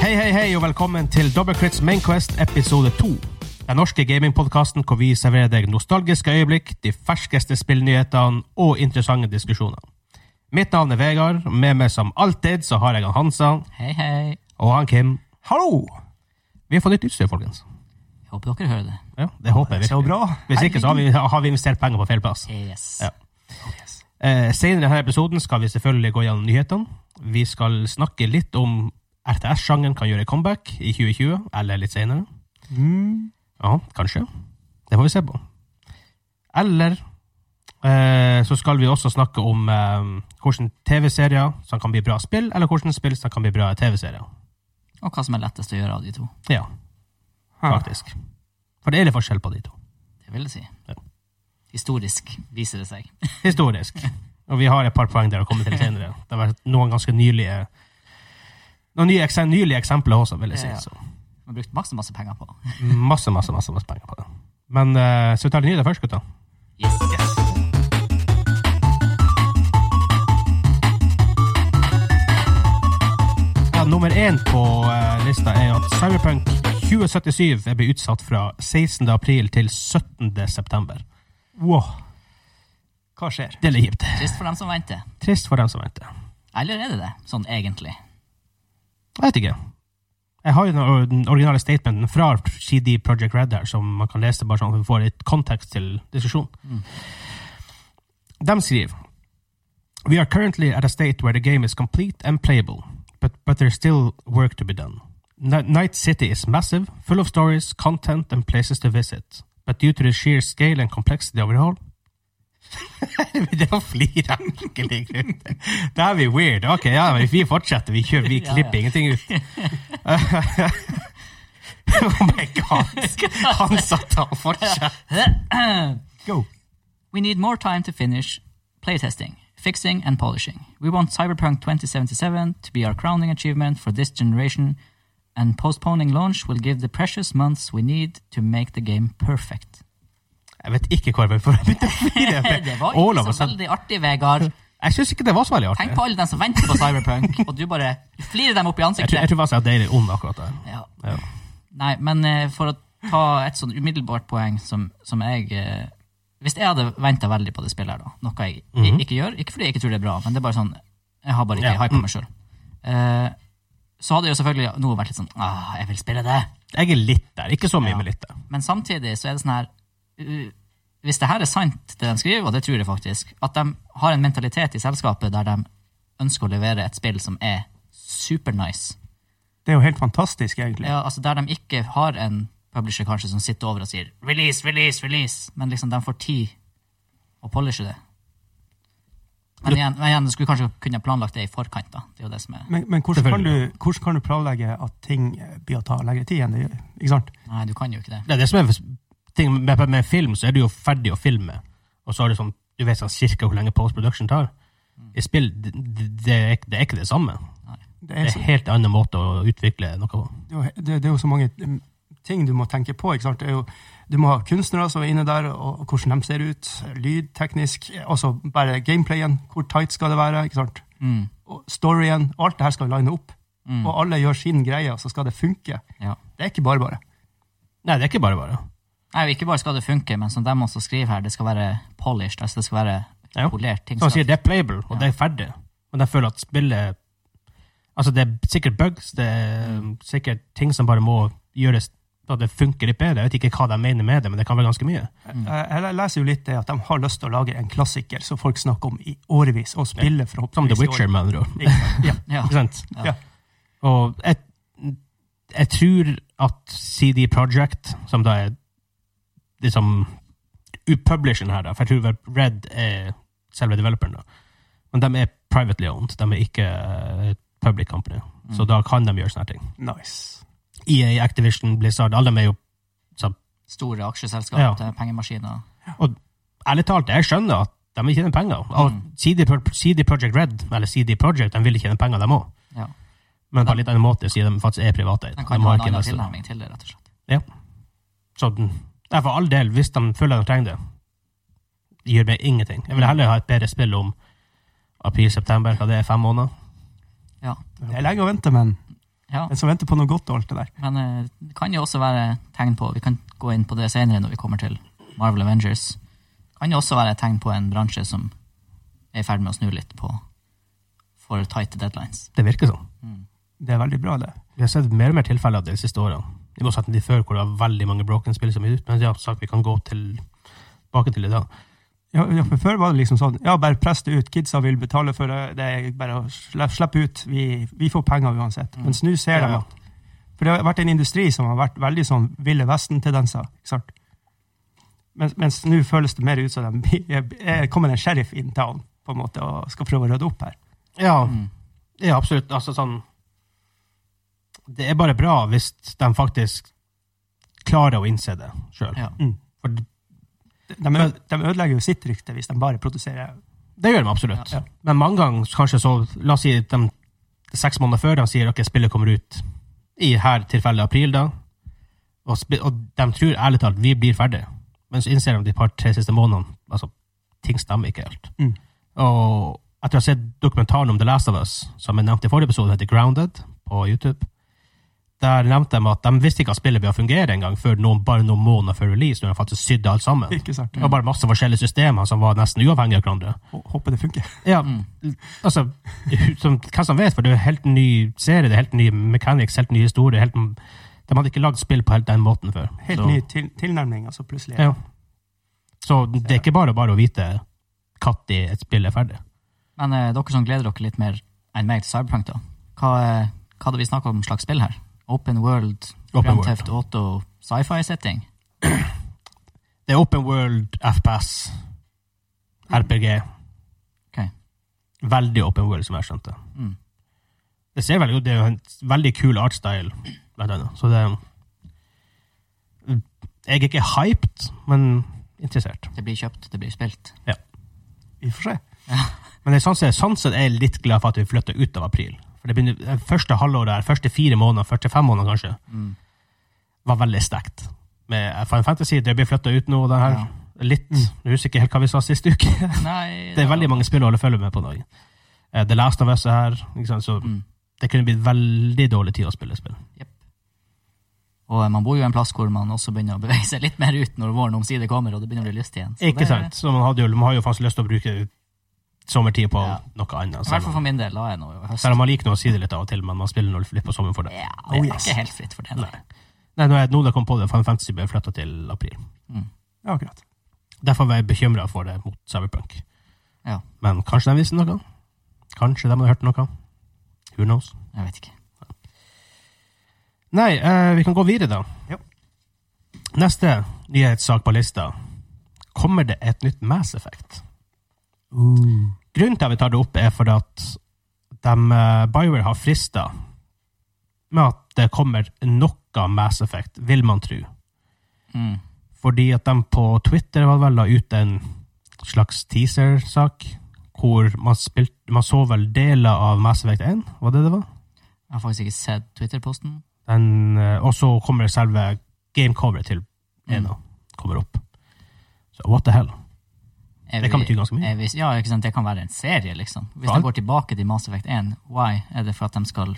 Hei og velkommen til Dobbelkrits Mainquest episode 2. Den norske gamingpodkasten hvor vi serverer deg nostalgiske øyeblikk, de ferskeste spillnyhetene og interessante diskusjoner. Mitt navn er Vegard, og med meg som alltid så har jeg han Hansa Hei, hei. og han Kim. Hallo! Vi har fått nytt utstyr, folkens. Jeg håper dere hører det. Ja, det håper jeg virkelig. Hvis ikke så har vi, har vi investert penger på feil plass. Yes. Ja. Eh, senere i denne episoden skal vi selvfølgelig gå gjennom nyhetene. Vi skal snakke litt om RTS-sjangeren kan gjøre comeback i 2020, eller litt senere. Ja, kanskje. Det får vi se på. Eller eh, så skal vi også snakke om eh, hvordan TV-serier som kan bli bra spill, eller hvordan spill som kan bli bra TV-serier. Og hva som er lettest å gjøre av de to. Ja, faktisk. For det er litt forskjell på de to. Det vil jeg si. Ja. Historisk viser det seg. Historisk. Og vi har et par poeng der å komme til senere. Det har vært noen ganske nylige noen nye, ekse- nylige eksempler også, vil jeg si. Ja. Så. Vi har brukt masse, masse penger på. Masse, masse, masse, masse penger på det. Men eh, så vi tar de nyhetene først, gutta. Yes. Ja, nummer én på eh, lista er at Cyberpunk 2077 er blitt utsatt fra 16. april til 17. september. Wow. Hva skjer? Det er litt kjipt. Trist for dem som venter. Trist for dem som venter. Eller er det det, sånn egentlig? Jeg vet ikke. Jeg har jo den or- den originale statementen fra CD Project Red her, som man kan lese bare sånn at vi får litt kontekst til diskusjonen. De skriver We are currently at a state where the game is complete and playable, but, but there's still work to be done. Ni- Night City is massive, full of stories, content, and places to visit. But due to the sheer scale and complexity of it all Det var flira virkelig. Det her blir er weird. Ok, ja, men vi fortsetter. Vi, kjører, vi Ja, ja. klipper ingenting ut. oh my god. Han satt og fortsatte. Go. We need more time to finish playtesting, fixing and polishing. We want Cyberpunk 2077 to be our crowning achievement for this generation, and postponing launch will give the precious months we need to make the game perfect. Jeg vet ikke hvor jeg begynte å flire. Det var All ikke of a så sudden. veldig artig, Vegard. Jeg syns ikke det var så veldig artig. Tenk på alle dem som venter på Cyberpunk, og du bare du flirer dem opp Jeg i tror, jeg ansiktet. tror faktisk jeg deilig ond akkurat der. Ja. Ja. Nei, men eh, for å ta et sånn umiddelbart poeng som, som jeg eh, Hvis jeg hadde venta veldig på det spillet her, da, noe jeg i- ikke gjør, ikke fordi jeg ikke tror det er bra, men det er bare sånn Jeg har bare ikke Mhm. Ja. hype på meg sjøl. så hadde jeg jo selvfølgelig nå vært litt sånn ah, jeg vil spille det. Jeg er litt der. Ikke så mye, Ja. men litt der. Men samtidig så er det sånn her uh, Hvis det her er sant, det de skriver, og det tror jeg faktisk, at de har en mentalitet i selskapet der de ønsker å levere et spill som er supernice. Det er jo helt fantastisk, egentlig. Ja, altså Der de ikke har en publisher kanskje som sitter over og sier 'release, release, release', men liksom de får tid å polishe det. Men igjen, men igjen, du skulle kanskje kunne planlagt det i forkant. da. Det er jo det som er... Men, men hvordan, kan Selvfølgelig. du, hvordan kan du planlegge at ting eh, blir å ta lengre tid enn det gjør? Ikke sant? Nei, du kan jo ikke det. Det er det som er ting med, med film, så er du jo ferdig å filme, og så er det sånn Du vet sånn cirka hvor lenge post production tar. I spill, det, det, er, ikke- det er ikke det samme. Det Det er, er så, en helt annen måte å utvikle noe på. det, er jo- det, det er jo så mange mm, ting du må tenke på. ikke sant? Det er jo, du må ha kunstnere som er inne der, og, og hvordan de ser ut. Lyd, teknisk, eh, også bare gameplayen. Hvor tight skal det være? ikke sant? Mm, Og storyen. Alt det her skal line opp. mm, Og alle gjør sin greie, og så skal det funke. ja. Det er ikke bare bare. Nei, det er ikke bare bare. Nei, og Ikke bare skal det funke, men som de også skriver her, det skal være polished. altså Det skal være Ja. polert. ting Som han skal- sier, det er playable, og det er ferdig. Men jeg føler at spillet Altså, det er sikkert bugs, det er sikkert ting som bare må gjøres så det funker litt bedre. Jeg vet ikke hva de mener med det, men det kan være ganske mye. Eh, Jeg, jeg leser jo litt det at de har lyst til å lage en klassiker som folk snakker om i årevis, og spiller forhåpentligvis. Som The i år. Witcher, med andre ord. Ja. Ja. Ikke sant? Ja. Og jeg, jeg tror at CD Projekt, som da er liksom upublisheren her, da, for jeg tror vel Red er selve developeren, da. men de er privately owned, de er ikke eh, public company. Så da kan de gjøre sånne her ting. Nice. EA, E Activision, Blizzard, alle de er jo Store aksjeselskap, Ja. eh, pengemaskiner. Ærlig talt, jeg skjønner at de vil tjene penger. Og Mm. CD, Pro- CD Projekt Red, eller CD Projekt, de vil tjene penger, de òg. Ja. Men på en litt annen måte, siden de faktisk er privateid. De kan De ha har en ikke annen investorer. tilnærming til det, rett og slett. Så den, det er for all del, hvis de føler de trenger det, gjør meg ingenting. Jeg vil heller ha et bedre spill om april-september, hva det er, fem måneder. Ja. Det er lenge å vente, men Ja, Den som venter på noe godt og alt det der. men eh, det kan jo også være tegn på Vi kan gå inn på det senere når vi kommer til Marvel Avengers. Det kan jo også være tegn på en bransje som er i ferd med å snu litt på for tight deadlines. Mm. Det virker sånn. Det er veldig bra, det. Vi har sett mer og mer tilfeller av det de siste årene. I motsetning til før, hvor det var veldig mange broken spill som er ute. Men ja, som sagt, vi kan gå tilbake til det da. Ja, ja, for Før var det liksom sånn Ja, bare press det ut. Kidsa vil betale for det. Det er bare å slippe, slippe ut. Vi, vi får penger uansett. Mm. Mens nå ser Ja, de ja. at For det har vært en industri som har vært veldig sånn Ville Vesten-tendenser. ikke sant? Mens mens nå føles det mer ut som de er kommet en sheriff in town på en måte, og skal prøve å rydde opp her. Ja, Mm. ja absolutt. Altså sånn Det er bare bra hvis de faktisk klarer å innse det sjøl. Ja. For De, de ø- de ødelegger jo sitt rykte hvis de bare produserer Det gjør de absolutt. Ja. Ja. Men mange ganger kanskje så La oss si de seks måneder før de sier at spillet kommer ut, i her tilfellet april, da, og, spi- og de tror ærlig talt vi blir ferdige, men så innser de de par-tre siste månedene altså, ting stemmer ikke helt. Mm. Og etter å ha sett dokumentaren om The Last of Us, som jeg nevnte i forrige episode, heter Grounded, på YouTube, der nevnte de at de visste ikke at spillet ville fungere engang før noen, bare noen måneder før release, når de faktisk sydde alt sammen. Ikke sant? Det var bare masse forskjellige systemer som var nesten uavhengige av hverandre. Hå- Håper det funker. Ja, Mm. altså, som, hva som vet, for det er helt ny serie, det er helt ny mechanics, helt ny historie, helt, mm, de hadde ikke lagd spill på helt den måten før. Helt så, ny til, tilnærming, altså plutselig. Ja. Så det er ikke bare bare å vite når et spill er ferdig. Men eh, dere som gleder dere litt mer enn meg til Cyberpunk, da. Hva, eh, hva hadde vi snakka om slags spill her? Open World, Open Grand world. Theft Auto, sci-fi-setting? Det er open world, FPS, RPG. Ok. Veldig open world, som jeg skjønte. Mm. Det ser veldig ut, det er jo en veldig kul artstyle, blant annet. Så det er... mm, Jeg er ikke hyped, men interessert. Det blir kjøpt, det blir spilt. Vi får se. Men det er sånn sett, sånn sett er jeg litt glad for at vi flytter ut av april. For det begynner, det første halvåret her, første fire måneder, første fem måneder kanskje, Mm. var veldig stekt. Med Final Fantasy, det blir flyttet ut nå, det her. Ja. Mm. Litt, jeg husker ikke helt hva vi sa siste uke. Nei, det er veldig mange spill å holde følge med på nå. Eh, The Last of Us er her, ikke sant? så Mm. det kunne blitt veldig dårlig tid å spille spill. Og eh, man bor jo en plass hvor man også begynner å bevege seg litt mer ut når våren omsider kommer og det begynner å bli lyst igjen. Så Ikke det- sant? Så man, hadde jo, man har jo faktisk lyst til å bruke sommertid på Ja. noe annet. I hvert fall Selv om, for min del, la jeg nå i høst. selv om man liker noe å si det litt av og til, men man spiller nå litt på sommeren for det. Ja, det Oh, er yes. ikke helt fritt for det. Nei. Nei, nå, er, nå det kom på det, Final Fantasy ble flytta til april. Mm, Ja, akkurat. Derfor var jeg bekymra for det mot Cyberpunk. Ja. Men kanskje de visste noe? Kanskje de hadde hørt noe? Who knows? Jeg vet ikke. Nei, eh, vi kan gå videre, da. Ja. Neste nyhetssak på lista. Kommer det et nytt Mass Effect? Uh. Grunnen til at vi tar det opp, er for at de, eh, BioWare har frista med at det kommer noe Mass Effect, vil man tro. Mm. Fordi at de på Twitter var vel la ut en slags teaser-sak, hvor man, spilte, man så vel deler av Mass Effect 1, var det det var? Jeg har faktisk ikke sett Twitter-posten. Den, eh, og så kommer selve gamecoveret til Mm. 1 kommer opp. Så what the hell? Er Det kan vi- bety ganske mye. er vi- ja, ikke sant? Det kan være en serie, liksom. Hvis For de alt- går tilbake til Mass Effect 1, why? Er det for at de skal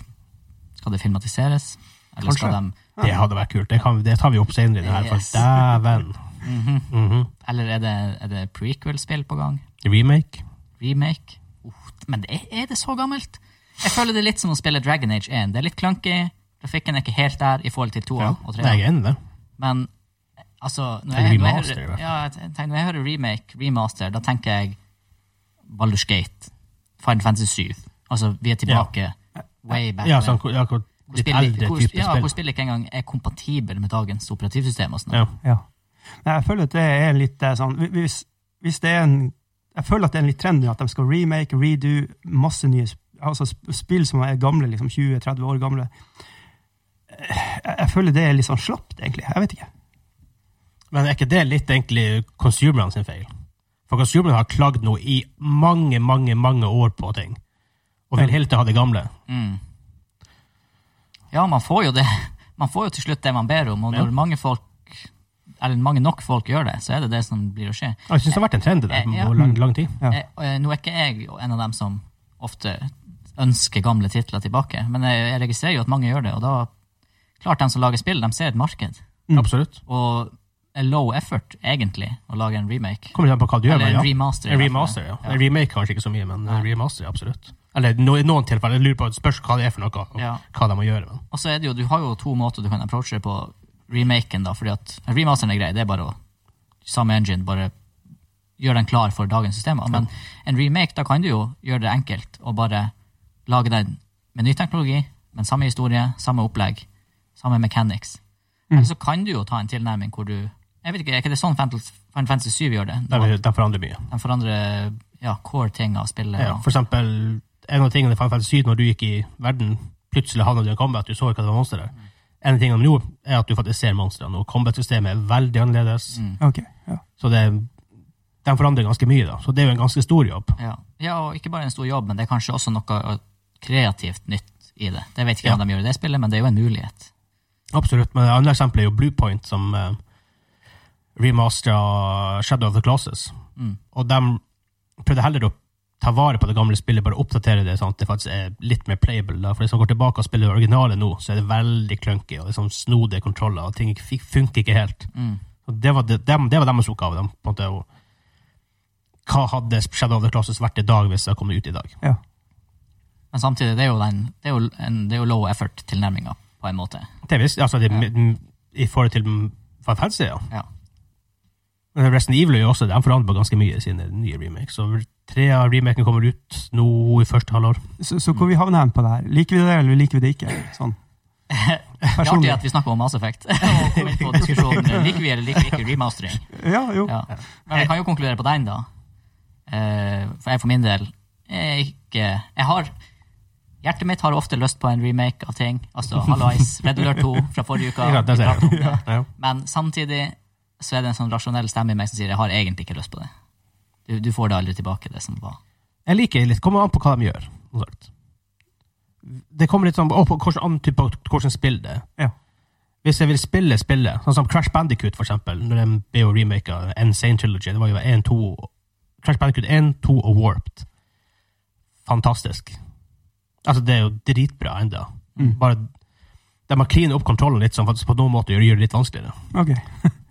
Skal det filmatiseres? Eller skal Kanskje. de Det hadde vært kult. Det, kan, det tar vi opp senere i det her, for Ah. Yes. dæven. Mhm. Mhm. Eller er det, er det prequel-spill på gang? Remake? Remake? Uh, men er, er det så gammelt? Jeg føler det er litt som å spille Dragon Age 1. Det er litt clunky. Grafikken er ikke helt der i forhold til 2 og 3. Nei, jeg er enig i det. Men altså når Eller jeg, når jeg remaster, i hvert hører, fall. ja, jeg tenker, når jeg hører remake, remaster, da tenker jeg Baldur's Gate, Final Fantasy 7. Altså, vi er tilbake way back. Ja, when. sånn, ja, hvor- hvor litt spillet- eldre hvor, type ja, hvor spill. spillet ikke engang er kompatibel med dagens operativsystem. og sånn. Ja. Ja. Men jeg føler at det er litt eh, sånn hvis, hvis det er en Jeg føler at det er en litt trend nå at de skal remake, redo masse nye sp- altså sp- spill som er gamle, liksom 20-30 år gamle. Eh, Jeg, jeg føler det er litt sånn slapt, egentlig. Jeg vet ikke. Men er ikke det litt egentlig consumerne sin feil? For consumerne har klagd nå i mange, mange mange år på ting. Og vil helt til ha det gamle. Mm. Ja, man får jo det. Man får jo til slutt det man ber om, og Ja. når mange folk eller mange nok folk gjør det, så er det det som blir å skje. Jeg synes det har vært en trend i det Eh, Ja. på lang, lang tid. Ja. Eh, og, eh, Nå er ikke jeg en av dem som ofte ønsker gamle titler tilbake. Men jeg, jeg registrerer jo at mange gjør det, og da klart de som lager spill, de ser et marked. Mm. Absolutt. Og er low effort, egentlig, å lage en remake. Kommer ikke an på hva du gjør, Eller men en ja. remaster. i En hvert fall. remaster, ja. Ja. En remake kanskje ikke så mye, men en Nei. remaster, absolutt. Eller no, i noen tilfeller. Jeg lurer på spørs hva det er for noe, og Ja. hva de må gjøre. Men. Og så er det jo, du har jo to måter du kan approache det på remaken, da, fordi at remasteren er grei, det er bare å samme engine, bare gjør den klar for dagens systemer. Men en remake, da kan du jo gjøre det enkelt, og bare lage den med ny teknologi, men samme historie, samme opplegg, samme mechanics. Mm. Eller så kan du jo ta en tilnærming hvor du, jeg vet ikke, er ikke det sånn Fantasy, Fantasy 7 gjør det? De, de forandrer mye. Den forandrer ja, core ting av spillet. Ja. og- For eksempel, en av tingene i Final Fantasy 7, når du gikk i verden, plutselig havnet du i en combat, du så ikke at det var monster der. En av tingene de gjorde, er at du faktisk ser monstrene, og combat-systemet er veldig annerledes. Mm. Ok, ja. Så det, de forandrer ganske mye, da. Så det er jo en ganske stor jobb. Ja. ja, og ikke bare en stor jobb, men det er kanskje også noe eh, kreativt nytt i det. Det vet ikke Ja. om de gjør i det spillet, men det er jo en mulighet. Absolutt. Men et annet eksempel er jo Bluepoint, som eh, remasteret Shadow of the Classes. Mm. Og de prøvde heller å ta vare på det gamle spillet, bare oppdatere det sånn at det faktisk er litt mer playable. Da. For hvis man går tilbake og spiller det originale nå, så er det veldig clunky og det er sånn snodige kontroller, og ting fi- funker ikke helt. Mm. Og det var, det, dem- det var deres oppgave. Dem, på en måte, å- hva hadde Shadow of the Classes vært i dag hvis det kom ut i dag? Men samtidig, det er jo, den, det er jo, en, det er jo low effort-tilnærminga, på en måte. Det er visst, altså, det, Ja. m- I forhold til Final Fantasy, ja. Ja. Men Resident Evil er jo også, de forandrer ganske mye i sine nye remakes. Så tre av remakene kommer ut nå i første halvår. Så, så hvor vi havner hen på det her? Liker vi det, eller liker vi det ikke? Sånn. Det er artig Personlig. at vi snakker om Mass Effect. og kom inn på diskusjonen Liker vi eller liker vi ikke remastering? Ja, jo. Ja. Men jeg kan jo konkludere på den, da. Eh, for jeg for min del er ikke Jeg har Hjertet mitt har ofte lyst på en remake av ting. Altså Hallois, Red Alert 2 fra forrige uke. Ikke sant, det ser jeg. Vi pratet om det. Ja. Men samtidig så er det en sånn rasjonell stemme i meg som sier jeg har egentlig ikke lyst på det. Du, du får det aldri tilbake, det som var. Jeg liker litt. Kommer an på hva de gjør. som sagt. Det kommer litt sånn og på hvilken annen type av hvordan spill det er. Ja. Hvis jeg vil spille, spille. Sånn som Crash Bandicoot, for eksempel. Når de ble jo remaka Insane Trilogy. Det var jo 1, 2 Crash Bandicoot 1, 2 og Warped. Fantastisk. Altså, det er jo dritbra ennå. Mm. Bare de har cleanet opp kontrollen litt, sånn faktisk på noen måte gjør gjør det litt vanskeligere. Ok,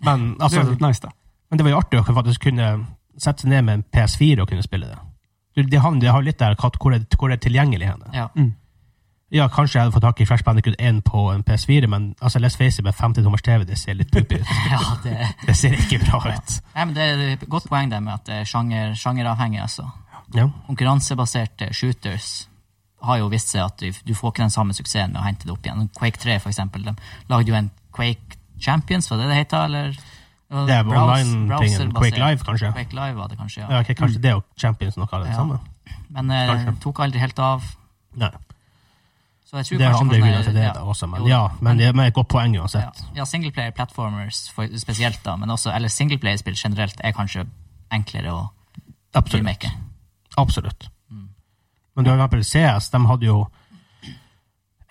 Men det altså, er jo litt nice, da. Men det var jo artig å faktisk kunne sette seg ned med en PS4 og kunne spille det. Du, Det har det har jo litt der katt, hvor, det, hvor det er tilgjengelig henne. Ja. Mm. Ja, kanskje jeg hadde fått tak i Flash Bandicoot 1 på en PS4, men altså, let's face it, med 50 tommers TV, det ser litt puppig ut. ja det, Det ser ikke bra ut. nei, men det er et godt poeng der med at det er sjanger, sjangeravhengig. Altså. Ja. Konkurransebaserte shooters har jo vist seg at du, du får ikke den samme suksessen med å hente det opp igjen. Quake 3, for eksempel. De lagde jo en Quake Champions, var det det heter? Eller? Det er online-tingen. Quake Live, kanskje. Quake Live var det kanskje, ja. Ja, ok, kanskje det og Champions noe av det Ja. samme. Men eh, Kanskje. tok aldri helt av. Nei, Så jeg tror det er kanskje andre kanskje- grunner til det ja. da også, men Jo. ja, men det er et godt poeng Ja, uansett. ja singleplayer platformers for, spesielt, da, men også eller singleplayerspill generelt er kanskje enklere å Absolutt. remake. Absolutt. Men du har for eksempel CS, de hadde jo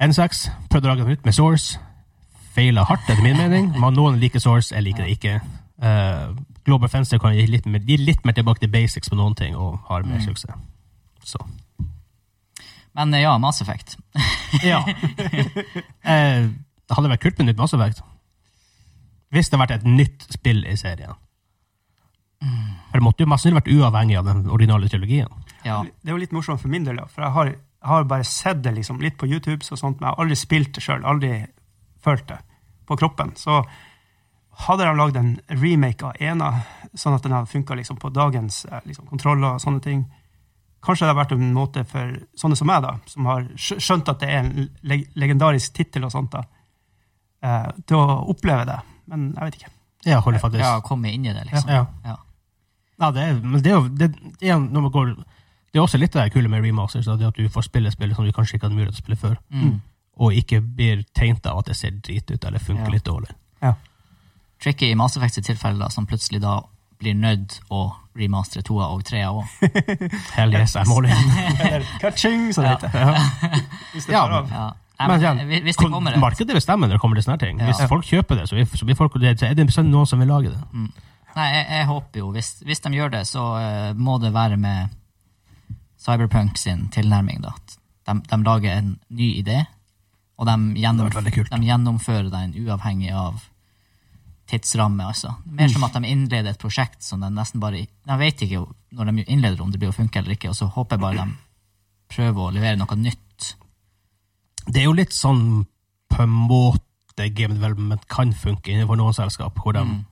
N6, prøvde å lage noe nytt med Source, feila hardt etter min mening, men noen liker Source, jeg liker det ikke. Eh, Global Fencer kan gi litt, mer, gi litt mer tilbake til basics på noen ting, og har mer Mm. suksess. Så, Men eh, ja, Mass Effect. ja. Eh, det hadde vært kult med nytt Mass Effect. Hvis det hadde vært et nytt spill i serien. For det måtte jo mest sannsynlig vært uavhengig av den originale trilogien. Ja, Det er jo litt morsomt for min del, da, for jeg har, jeg har bare sett det liksom, litt på YouTube, og sånt, men jeg har aldri spilt det sjøl, aldri følt det på kroppen. Så hadde de lagd en remake av Ena, sånn at den hadde funka liksom, på dagens eh, liksom, kontroller og sånne ting, kanskje det hadde vært en måte for sånne som meg, da, som har skj- skjønt at det er en leg legendarisk tittel og sånt, da, eh, til å oppleve det. Men jeg vet ikke. Ja, holder faktisk. ja komme inn i det, liksom. Ja. Ja. Ja, det er, men det er jo det, igjen, når man går, det er også litt av det kule med remasters, da, det at du får spille spill som du kanskje ikke hadde mulighet til å spille før, Mm. og ikke blir tegnet av at det ser drit ut eller funker Ja. litt dårlig. Tricky i Mass Effects sitt tilfelle, da, som plutselig da blir nødt å remastere toa og trea òg. Hell yes, I'm all in. Eller catching, som det heter. Hvis det Ja, tar av. Ja. Men Nei, men, eh, igjen, hvis- hvis det kommer et Markedet bestemmer når det kommer til sånne ting. Hvis Ja. folk kjøper det, så, vi, så, blir folk, det, så er det bestemt noen som vil lage det. Nei, jeg, jeg håper jo, hvis, hvis de gjør det, så eh, må det være med Cyberpunk sin tilnærming, da. At De, de lager en ny idé, og de, gjennom, Det hadde vært veldig kult. de gjennomfører den uavhengig av tidsramme. altså. Mer Mm. som at de innleder et prosjekt som de nesten bare De vet ikke jo- når de innleder om det blir å funke eller ikke, og så håper jeg bare de prøver å levere noe nytt. Det er jo litt sånn på en måte game development kan funke innenfor noen selskap, hvor de Mm.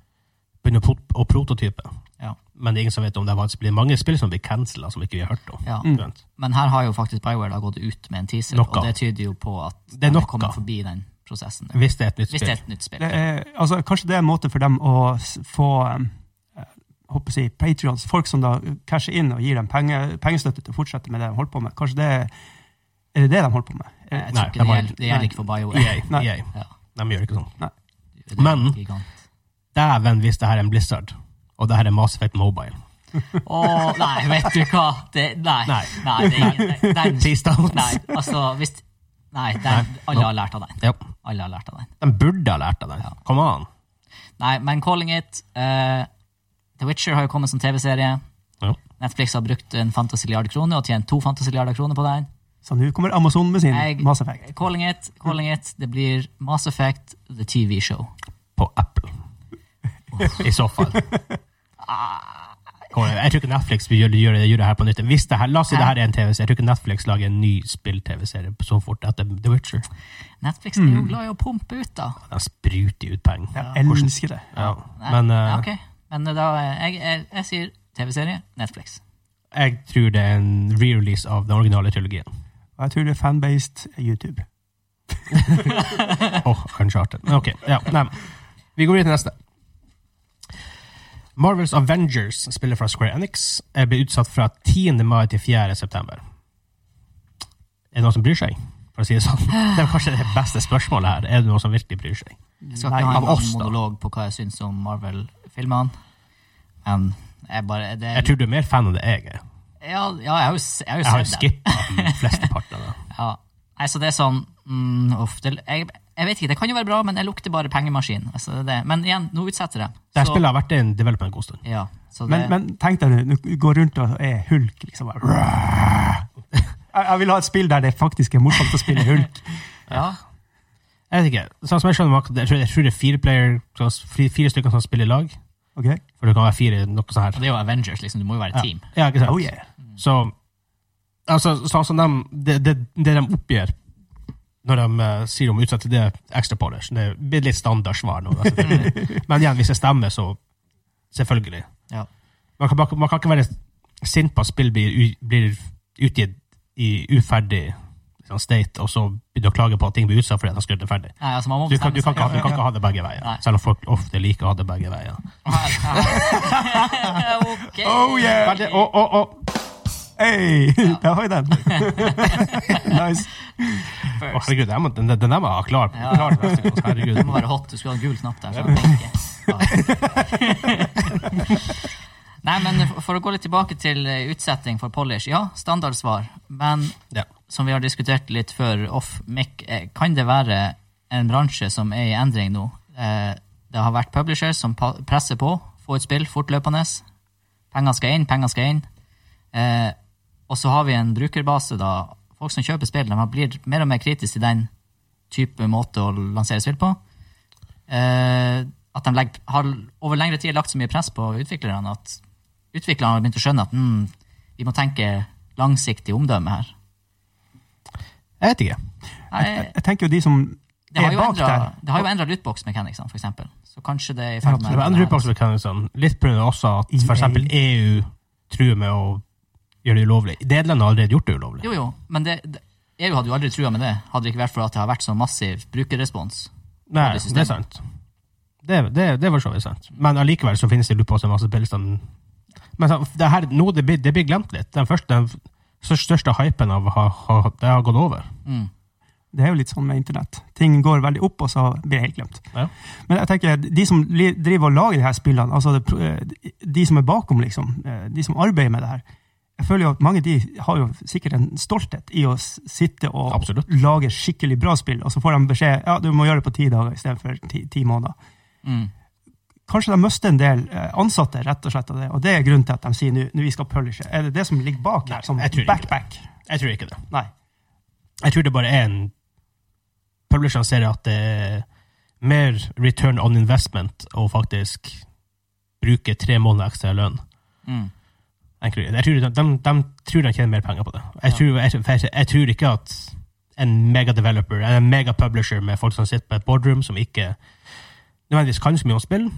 begynner å prot- å prototype. Ja. Men det er ingen som vet om det faktisk blir mange spill som blir cancela, som ikke vi har hørt om. Ja. Mm. Sant? Men her har jo faktisk Bioware da gått ut med en teaser, Noe. og det tyder jo på at Det er de noe. er kommet forbi den prosessen. Hvis det er et nytt Hvis det er spill. et nytt spill. Det er, altså, kanskje det er en måte for dem å s- få um, eh, håper jeg å si, Patrions, folk som da casher inn og gir dem penge, pengestøtte til å fortsette med det de holder på med. Kanskje det er er det det de holder på med? Eh, Er- Eh, Jeg Nei, tror ikke de det har- gjelder, det gjelder ikke for BioWare. EA, Nei. EA. Ja. E De gjør ikke sånn. Det er Men- en gigant. Dæven hvis det her er en Blizzard, og det her er Mass Effect Mobile. Å, nei, vet du hva? Det, nei, nei. Nei. det er ingen, den, Peace out. nei, altså, hvis, nei, den, alle har lært av den. Ja. Alle har lært av den. De burde ha lært av det. Come on. Nei, men calling it eh, The Witcher har jo kommet som TV-serie. Ja. Netflix har brukt en fantasiliard kroner og tjent to fantasiliarder kroner på den. Så nå kommer Amazon med sin Jeg- Mass Effect. Calling it, calling it, det blir Mass Effect, the TV show. På Apple. I så fall. Kom, Jeg tror ikke Netflix vil gjøre, gjøre, gjøre det her på nytt. Hvis det her, la oss si det her er en TV-serie. Jeg tror ikke Netflix lager en ny spill-TV-serie så fort etter The Witcher. Netflix er Mm. jo glad i å pumpe ut, da. De spruter ut penger. Jeg elsker det. Ja. Nei, Men eh, ja, ok. Men da, eh, jeg, jeg, jeg sier TV-serie, Netflix. jeg tror det er en re-release av den originale trilogien. Og jeg tror det er fanbased YouTube. Åh, Uncharted. Men Ok, ja, nei. men. Vi går videre til neste. Marvels Avengers, spillet fra Square Enix, er blitt utsatt fra 10. mai til 4. september. Er det noen som bryr seg? For å si det sånn. Det er kanskje det beste spørsmålet her. Er det noen som virkelig bryr seg? Jeg skal Nei, ikke av ha en lang oss, da. monolog på hva jeg syns om Marvel-filmene. Men jeg bare det, Jeg tror du er mer fan av det jeg er. ja, ja, jeg har jo, s- jeg har jo Jeg har jo sett det. skippa den fleste parten av det. Ja. Nei, så det er sånn mm, uff, det, jeg, jeg vet ikke, det kan jo være bra, men jeg lukter bare pengemaskin. Altså, det, er det. Men igjen, nå utsetter jeg. Dette Så- spillet har vært en development en god stund. Ja, så det, Men, men tenk deg nå, du går rundt og er hulk, liksom. Bare. Jeg jeg vil ha et spill der det faktisk er morsomt å spille hulk. ja. Jeg vet ikke. Sånn som jeg skjønner, Mark, jeg tror- jeg tror det er fire, player, sånn- fire, fire stykker som spiller i lag. Ok? For det kan være fire noe sånn her. Og det er jo Avengers, liksom. Du må jo være et team. Ja, ikke sant? Oh yeah. Så altså, sånn som de, det, det, det de oppgir når de eh, sier om å utsette det ekstra polish, det blir litt standardsvar nå. da, selvfølgelig. Men igjen, hvis det stemmer, så selvfølgelig. Ja. Man kan, man kan ikke være sint på at spill blir, u- blir utgitt i uferdig sånn state, og så begynner å klage på at ting blir utsatt fordi at de skulle gjort det ferdig. Nei, altså, man må Du kan, bestemme du, kan seg. ikke, ha- du kan ikke ha det begge Nei. veier, selv om folk ofte liker å ha det begge veier. Ok. Oh yeah! Men det- og- og- og- Hey! Der har vi den. Nice. Å, herregud, den må- den den- den der må jeg ha klar. Ja. klar til neste gang, herregud. Det må være hot. Du skulle ha en gul knapp der. Så jeg tenker. Ja. Nei, men For å gå litt tilbake til eh, utsetting for polish. Ja, standardsvar. Men Ja. som vi har diskutert litt før off mic, eh, kan det være en bransje som er i endring nå? Eh, Det har vært publishers som pa- presser på. Få et spill fortløpende. Penger skal inn, penger skal inn. Eh, og så har vi en brukerbase, da. Folk som kjøper spill, de har- blir mer og mer kritiske til den type måte å lansere spill på. Eh, at de legger, har over lengre tid lagt så mye press på utviklerne at utviklerne har begynt å skjønne at mm, vi må tenke langsiktig omdømme her. Jeg vet ikke. Nei, Jeg tenker jo de som det har er jo bak endret- der det har jo endra lootbox mechanicsene, for eksempel. Så kanskje det er i ferd med Det var andre utbakser, kan jeg si. Litt pga. også at for eksempel EU truer med å gjøre det ulovlig. Nederland har allerede gjort det ulovlig. Jo, jo, men det, det, EU hadde jo aldri trua med det, hadde det ikke vært for at det har vært så massiv brukerrespons. Nei, det det er sant. Det, det, det var så vidt sant. Men allikevel så finnes det lurer på også en masse spill som Men så, det her, nå det blir, det blir glemt litt. Den første, den stør- største hypen av har, har, det har gått over. Mm. Det er jo litt sånn med internett. Ting går veldig opp, og så blir det helt glemt. Ja. Men jeg tenker, de som li- driver og lager de her spillene, altså det, pro- eh, de som er bakom, liksom, eh, de som arbeider med det her, jeg føler jo at mange av de har jo sikkert en stolthet i å s- sitte og Absolutt. lage skikkelig bra spill, og så får de beskjed ja, du må gjøre det på ti dager istedenfor ti, ti måneder. Mm. Kanskje de mister en del eh, ansatte rett og slett av det, og det er grunnen til at de sier nå nå vi skal publishe. Er det det som ligger bak Nei, her, som jeg tror ikke det. back-back? Jeg tror ikke det. Nei. Jeg tror det bare er en Publisherne ser at det er mer return on investment å faktisk bruke tre måneder ekstra lønn. Mm. Jeg tror, jeg tror de, de, de tror de tjener mer penger på det. Jeg, Ja. tror, jeg, for jeg, jeg tror ikke at en megadeveloper, en megapublisher med folk som sitter på et boardroom, som ikke nødvendigvis kan så mye om spill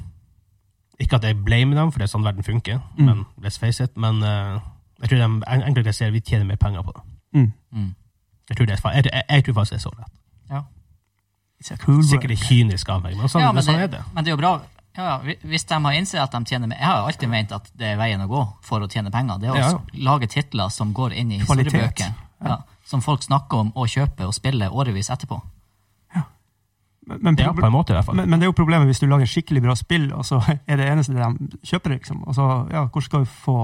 Ikke at jeg blamer dem, for det er sånn verden funker, Mm. men let's face it. Men eh, jeg tror de en- enkelte ser vi tjener mer penger på det. Mm. Mm. Jeg tror, det er, fa- jeg, jeg, jeg tror faktisk det er så lett. It's a cool Sikkert litt world. kynisk av meg, men sånn, Ja, men sånn er det. Men det er jo bra ja, ja, hvi- hvis de har innsett at de tjener mer Jeg har jo alltid ment at det er veien å gå for å tjene penger. Det er å Ja, ja. s- lage titler som går inn i Kvalitet. historiebøker. Ja, som folk snakker om og kjøper og spiller årevis etterpå. Men, men, Ja, på en måte i hvert fall. men, men det er jo problemet hvis du lager skikkelig bra spill, og så er det eneste de kjøper, liksom. Og så, ja, hvordan skal du få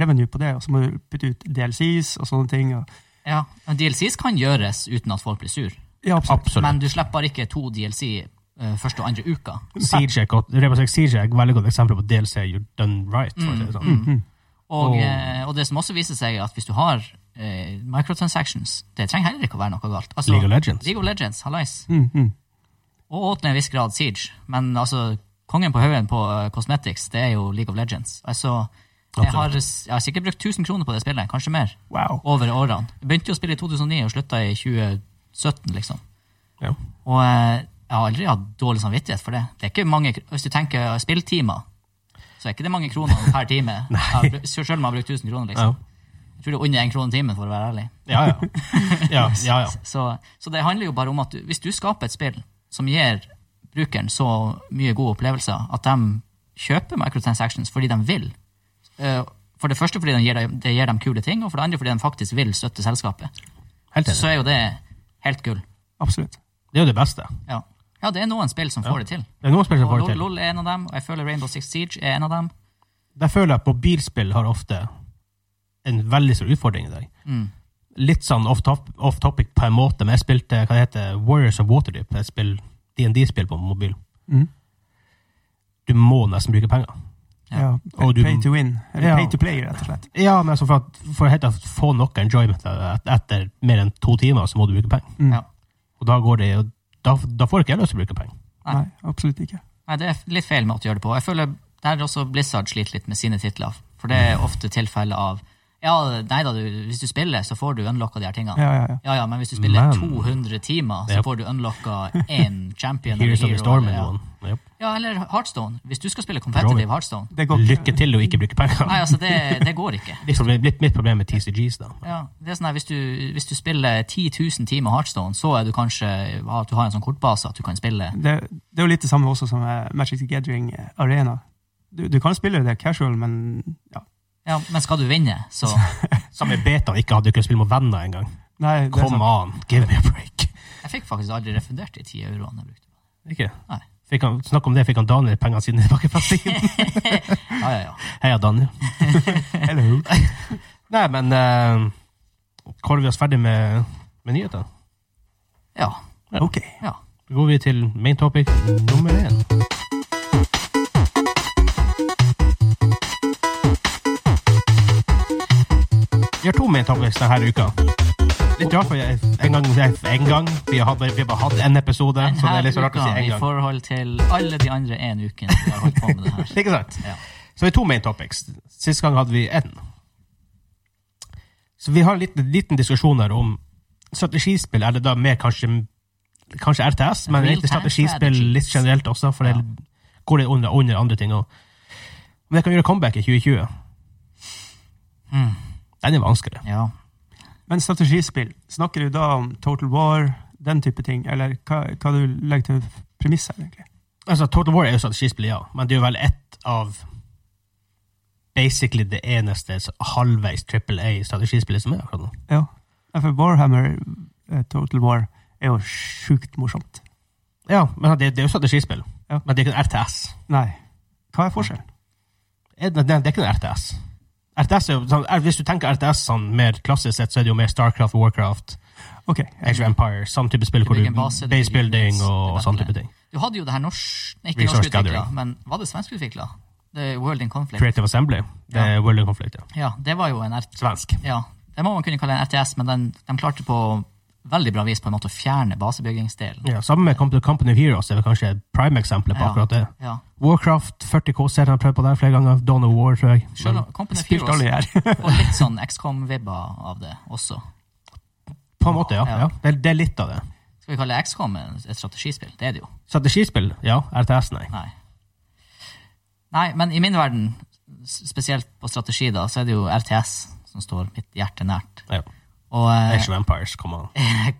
revenue på det? Og så må du putte ut DLCs og sånne ting. Og, Ja, men DLCs kan gjøres uten at folk blir sur. ja, absolutt. Absolutt. Men du slipper bare ikke to DLC eh, første og andre uka. Siege er, et godt, Rainbow Six Siege er et veldig godt eksempel på DLC you're done right. for å si det sånn. Og, Og- eh, og det som også viser seg, er at hvis du har eh, microtransactions, det trenger heller ikke å være noe galt. Altså, League of Legends. League of Legends, hallais. Mm, mm. Og til en viss grad Siege. Men altså, kongen på haugen på eh, Cosmetics, det er jo League of Legends. Altså, jeg har, jeg har sikkert brukt 1000 kroner på det spillet, kanskje mer, Wow. over årene. Jeg begynte jo å spille i 2009 og slutta i 2017, liksom. Ja. Og eh, jeg har aldri hatt dårlig samvittighet for det. Det er ikke mange, kr- Hvis du tenker spilltimer, så er ikke det mange kroner per time. Jeg har bru- Selv om jeg har brukt 1000 Ja. kroner, liksom. Jeg tror det er under én krone timen, for å være ærlig. Ja, ja. ja, ja, ja. Så, så det handler jo bare om at du, hvis du skaper et spill som gir brukeren så mye gode opplevelser at de kjøper microtransactions fordi de vil Eh, For det første fordi de gir dem, det gir dem kule ting, og for det andre fordi de faktisk vil støtte selskapet. Helt Så enig. er jo det helt gull. Absolutt. Det er jo det beste. Ja. ja, det er noen spill som får det til. Det er noen spill som Og får det LOL, til. LOL er en av dem, og jeg føler Rainbow Six Siege er en av dem. Der føler jeg at mobilspill har ofte en veldig stor utfordring i dag. Mm. Litt sånn off, top, off topic på en måte, men jeg spilte hva det heter, Warriors of Waterdeep, et spill, D&D-spill på mobil. Mm. Du må nesten bruke penger. Ja. Ja. Og du- Pay to win. Eller Ja. pay to play, rett og slett. Ja, men altså for, at, for helt å få noe enjoyment av det, et- etter mer enn to timer, så må du bruke penger. Mm. Ja. Og da går det jo Da, da får ikke jeg lyst til å bruke penger. Nei. Nei, absolutt ikke. Nei, det er litt feil måte å gjøre det på. Jeg føler der også Blizzard sliter litt med sine titler. For det Mm. er ofte tilfelle av Ja, nei da, du, hvis du spiller, så får du unlocka de her tingene. Ja, ja, ja. Ja, ja, men hvis du spiller Men- 200 timer, så Yep. får du unlocka én champion. eller Heroes of the hero, Storm eller- eller noe. Ja. ja, eller Heartstone. Hvis du skal spille For så competitive vidt. Heartstone Det Yep. går ikke. Lykke til å ikke bruke penger. Nei, altså, det, det går ikke. Litt problem- litt mitt problem med TCGs, da. Ja, det er sånn her, hvis, du, hvis du spiller 10 000 timer Heartstone, så er du kanskje at du har en sånn kortbase at du kan spille Det, det er jo litt det samme også som eh, Magic the Gathering eh, Arena. Du, du kan spille det casual, men ja. Ja, men skal du vinne, så Samme betaen ikke hadde kunnet spille med venner engang. Nei, det er sånn, Come sant. on, give me a break. Jeg fikk faktisk aldri refundert de 10 euroene jeg brukte. Ikke? Nei. Fikk han, snakk om det, fikk han Daniel pengene sine tilbake fra Steam? Ja, ja, ja. Heia, Daniel. Hello. Nei, men uh, kårer vi oss ferdig med, med nyheter? Ja. Ok. ja. Da går vi til main topic nummer én. Vi har to main topics denne uka. Litt rart, for jeg, en gang, en gang vi, har, hatt- vi har bare hatt en episode, så det er litt så rart å si en i gang. forhold til alle de andre en uken vi har holdt på med det her. Ikke sant? Ja. Så vi har to main topics. Sist gang hadde vi én. Så vi har en liten, liten diskusjon her om strategispill. Er det da mer kanskje, kanskje RTS, men Real litt time strategispill strategies. litt generelt også, for Ja. det går det under, under andre ting òg. Men jeg kan gjøre comeback i 2020. Mm. Den er vanskeligere. ja. Men strategispill, snakker du da om Total War, den type ting, eller hva, hva du legger til premiss her, egentlig? Altså, Total War er jo strategispill, ja, men det er jo vel ett av basically det eneste halvveis Triple A-strategispillet som er akkurat nå. Ja. Ja, For Warhammer, eh, Total War, er jo sjukt morsomt. Ja, men det, det er jo strategispill. Ja. Men det er ikke en RTS. Nei. Hva er forskjellen? Er Det, det er ikke en RTS. RTS er jo, sånn, er- hvis du tenker RTS sånn mer klassisk sett, så er det jo mer Starcraft, Warcraft, Ok. Age Mm. of Empire, sånn type spill Du hvor du bygger en base, du base bygger building units, og, liksom. det er sånn veldig. type ting. Du hadde jo det her norsk nei, Ikke Resource norsk utvikla, gathering. men var det svensk utvikla? World in Conflict. Creative Assembly. Det er World in Conflict, ja. Ja, det var jo en RT Svensk. Ja, det må man kunne kalle en RTS, men den, de klarte på veldig bra vis på en måte å fjerne basebyggingsdelen. Ja, sammen med Comp- Company of Heroes er vel kanskje prime-eksempelet på Ja. akkurat det. Ja. Warcraft 40K-serien har jeg prøvd på der flere ganger. Dawn of War, tror jeg. Selv om Company of Spilt Heroes alle her. får litt sånn XCOM-vibber av det også. På en måte, ja. Ja. ja. Det, er- det er litt av det. Skal vi kalle XCOM en- et strategispill? Det er det jo. Strategispill? Ja. RTS, nei. Nei. Nei, men i min verden, s- spesielt på strategi, da, så er det jo RTS som står mitt hjerte nært. Ja. Og eh, Age of Empires, come on.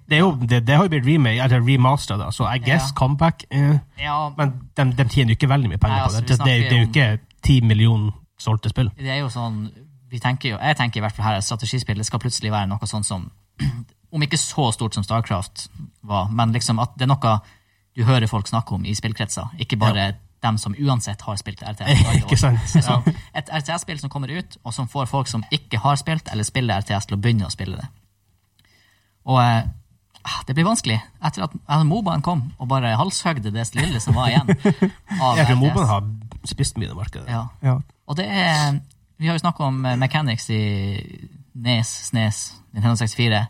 Det, er jo, det, det har jo blitt remake, eller remasteret, da, så I guess Ja. comeback eh, ja, Men de, de tjener jo ikke veldig mye penger Nei, altså, på det. vi Det, det, er jo- det er jo snakker ikke ti millioner solgte spill. det er jo sånn vi tenker jo, Jeg tenker i hvert fall her at strategispill det skal plutselig være noe sånn som Om ikke så stort som Starcraft var, men liksom at det er noe du hører folk snakke om i spillkretser, ikke bare dem som uansett har spilt RTS. alle år. ikke sant? Det er sånn, et RTS-spill som kommer ut, og som får folk som ikke har spilt eller spiller RTS, til å begynne å spille det. Og eh, ah, det blir vanskelig. Etter at at Mobaen kom og bare halshøgde det lille som var igjen. av Jeg tror Moban RTS. har spist mye i det markedet. Ja. Ja. Og det er Vi har jo snakka om eh, mechanics i Nes, Snes, Nintendo 64.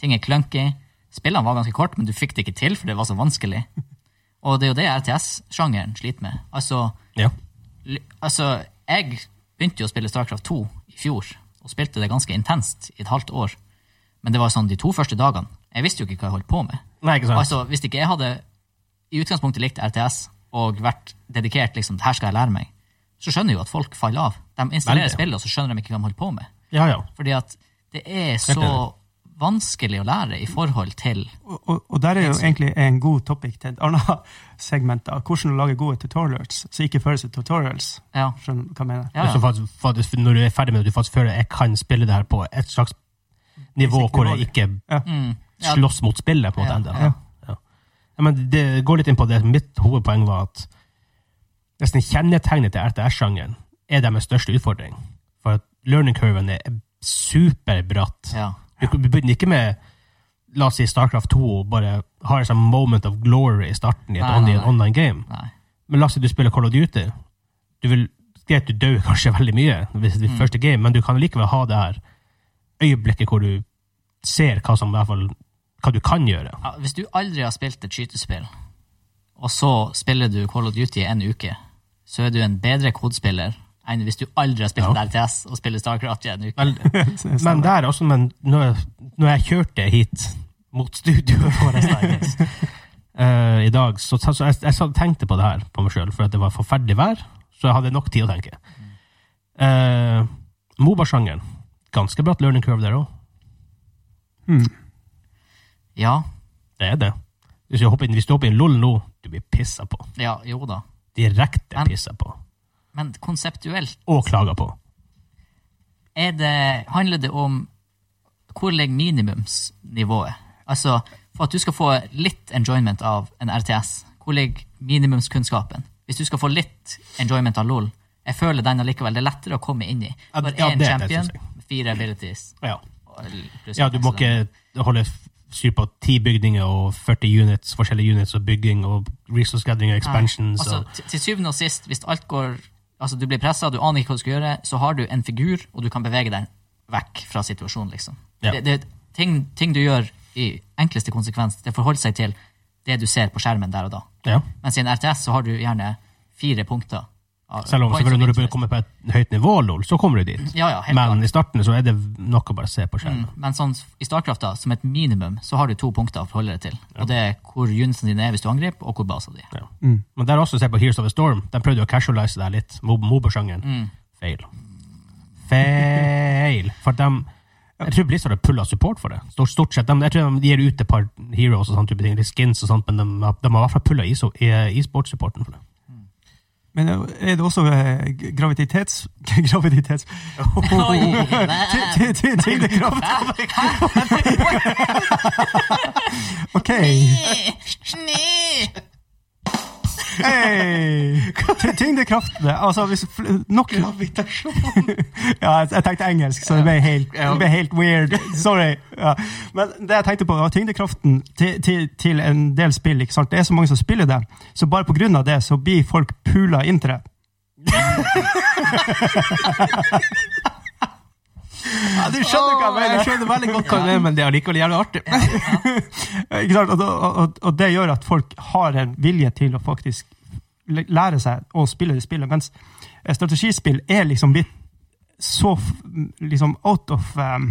Ting er clunky. Spillene var ganske kort, men du fikk det ikke til, for det var så vanskelig. Og det er jo det RTS-sjangeren sliter med. Altså, Ja. l- altså, jeg begynte jo å spille Starcraft 2 i fjor, og spilte det ganske intenst i et halvt år. Men det var sånn de to første dagene. Jeg visste jo ikke hva jeg holdt på med. Nei, ikke sant? Altså, Hvis ikke jeg hadde i utgangspunktet likt RTS og vært dedikert liksom, det her skal jeg lære meg, så skjønner jeg jo at folk faller av. De installerer Veldig. spillet, og så skjønner de ikke hva de holder på med. ja, ja. Fordi at det er så enig. vanskelig å lære i forhold til Og, og, og der er jo egentlig en god topic til et annet segment. Da. Hvordan å lage gode tutorials som ikke føles som tutorials. Ja, Skjønner du hva jeg mener? ja, Så ja. faktisk, faktisk, når du er ferdig med det, du faktisk føler jeg kan spille det her på et slags nivå Basic hvor jeg nivå. ikke Mm, ja slåss mot spillet på en Ja, måte enda. ja. Ja. Ja, men det går litt inn på det. Mitt hovedpoeng var at nesten kjennetegnet til RTS-sjangeren er deres største utfordring. For at learning curven er superbratt. ja. Du kan- du begynner ikke med la oss si Starcraft 2 og bare har en sånn moment of glory i starten i et Nei, nei, online- nei. online game. Nei. Men la oss si du spiller Call of Duty. Du vil, greit, du dør kanskje veldig mye hvis det er ditt første game, men du kan likevel ha det her øyeblikket hvor du ser hva som i hvert fall hva du kan gjøre. Ja, hvis du aldri har spilt et skytespill, og så spiller du Call of Duty en uke, så er du en bedre kodespiller enn hvis du aldri har spilt Ja. RTS og spiller Starcraft i en uke. Vel, men der også, men når, når jeg kjørte hit mot studioet for resten eh, i dag, så, så jeg, jeg satt og tenkte på det her på meg sjøl, for at det var forferdelig vær, så jeg hadde nok tid å tenke. Eh, Moba-sjangeren. Ganske bratt learning curve der òg. Hmm. Ja, Det er det. Hvis du hopper inn, hvis du hopper inn LOL nå, du blir pissa på. ja, jo da. Direkte Men- pissa på. Men konseptuelt Og klaga på. er det, handler det om hvor ligger minimumsnivået? Altså, for at du skal få litt enjoyment av en RTS, hvor ligger minimumskunnskapen? Hvis du skal få litt enjoyment av LOL, jeg føler den allikevel, det er lettere å komme inn i. Ja, Bare ja, det- én det champion, synes jeg. fire abilities. Ja, og pluss- ja du må ikke holde f- styr på ti bygninger og 40 units, forskjellige units og bygging og resource gathering og expansions. Nei, og, Altså, til- til syvende og sist, hvis alt går Altså, du blir pressa, du aner ikke hva du skal gjøre, så har du en figur, og du kan bevege deg vekk fra situasjonen, liksom. Ja. Det, det, ting, ting du gjør i enkleste konsekvens, det forholder seg til det du ser på skjermen der og da. ja. Mens i en RTS så har du gjerne fire punkter. av- Selv om points selvfølgelig of når du interest. kommer på et høyt nivå, lol, så kommer du dit. Ja, ja, helt klart. Men i starten så er det nok å bare se på skjermen. Men sånn, i Starcraft, da, som et minimum, så har du to punkter å forholde deg til. Og det er hvor unitene dine er hvis du angriper, og hvor basen din er. Ja. mm. Men der også, se på Heroes of the Storm. De prøvde jo å casualize det her litt. Mo- Moba-sjangeren. Feil. Feil. For de Jeg tror Blizzard har pulla support for det. Stort, stort sett. De, jeg tror de gir ut et par heroes og sånne type ting, litt skins og sånt, men de, har- de har i hvert fall pulla e-sportsupporten for det. Men er det også eh, g- gravititets... Graviditets... Oh, Ty- ty- ty- Tyngdekraft! OK. Hey. Ty- Tyngdekraft. det. Altså, hvis fl- nok ja, jeg- jeg tenkte engelsk, så det ble helt, det ble helt weird. Sorry. Ja. Men det jeg tenkte på var tyngdekraften til, til, til en del spill. ikke sant? Det er så mange som spiller det, så bare på grunn av det så blir folk pula inn til det. Ja, du skjønner hva jeg Åh, jeg mener! skjønner veldig godt hva du mener, men det er allikevel jævlig artig. Eh, Ikke sant? Og, da- og, og det gjør at folk har en vilje til å faktisk læ- lære seg å spille det spillet, mens eh, strategispill er liksom blitt så f- liksom out of um,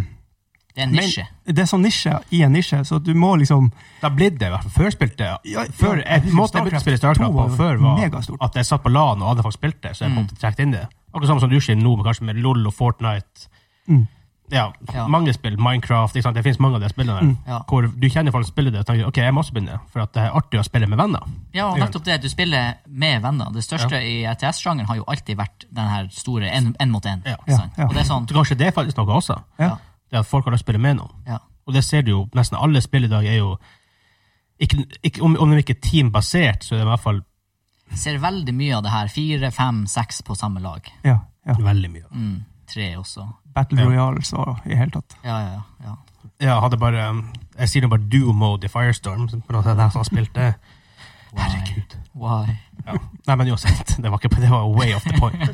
Det er en men- nisje. Det er sånn nisje i en nisje, så du må liksom Da ble det i hvert fall. Før spilte Ja, jeg før, ja, jeg jeg, husker Måten jeg begynte å spille Starcraft Starcraft på 2 var før, var megastort. at jeg satt på LAN og alle folk spilte, så jeg Mm. måtte trekke inn det. Akkurat samme som du sier nå, men kanskje med LOL og Fortnite. Mm. Ja, Ja. mange spill. Minecraft. Ikke sant? Det finnes mange av de spillene Mm. der. Ja. Hvor du kjenner folk som spiller det, og tenker ok, jeg må også begynne, for at det er artig å spille med venner. ja, og nettopp det. Du spiller med venner. Det største i ETS-sjangeren har jo alltid vært den her store en, en mot en. Ja. sant? Ja, ja. Og det er sånn, Så kanskje det er faktisk noe også. Ja. Det at folk har lyst til å spille med noen. ja. Og det ser du jo, nesten alle spill i dag er jo ikke, ikke, om, om de ikke er teambasert, så er det i hvert fall Ser veldig mye av det her. Fire, fem, seks på samme lag. Ja. ja. veldig mye. Mm, tre også. Battle Ja. Royales og i hele tatt. Ja, ja, ja. Ja, hadde bare, um, jeg sier nå bare duo-mode i Firestorm, som på noe sett jeg som har spilt det. Herregud. Why? Ja. Nei, men uansett, det var, ikke, det var way off the point.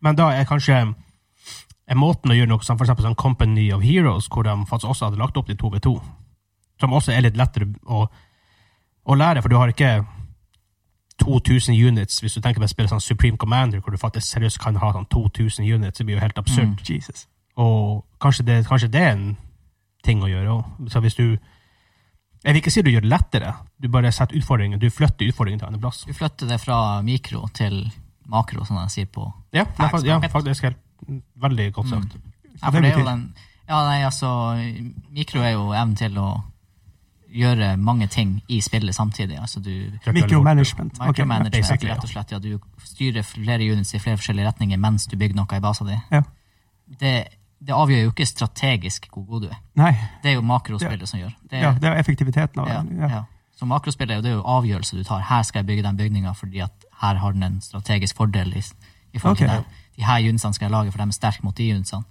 Men da er kanskje er måten å gjøre noe som for eksempel sånn Company of Heroes, hvor de faktisk også hadde lagt opp til 2v2, som også er litt lettere å, å lære, for du har ikke 2000 units, hvis du tenker på å spille sånn Supreme Commander, hvor du faktisk seriøst kan ha sånn 2000 units, det blir jo helt absurd. Jesus. Og kanskje det, kanskje det er en ting å gjøre òg. Så hvis du Jeg vil ikke si du gjør det lettere, du bare setter utfordringen, du flytter utfordringen til andre plass. Du flytter det fra mikro til makro, som de sier på Ja, nei, Facts, fa- ja pocket. faktisk helt veldig godt sagt. Ja, for det er jo den Ja, nei, altså Mikro er jo evnen til å gjøre mange ting i spillet samtidig. Altså du Trykker veldig Micromanagement. Ok, Micromanagement, basically, ja. rett og slett. Ja, du styrer flere units i flere forskjellige retninger mens du bygger noe i basen din. Ja. Det, det avgjør jo ikke strategisk hvor god du er. Nei, Det er jo makrospillet som gjør. Det, ja, det er jo effektiviteten av ja, det. Ja. ja. Så makrospillet er jo det er jo avgjørelser du tar. Her skal jeg bygge den bygninga fordi at her har den en strategisk fordel i, i forhold til Ok. den. De her unitsene skal jeg lage, for de er sterke mot de unitsene.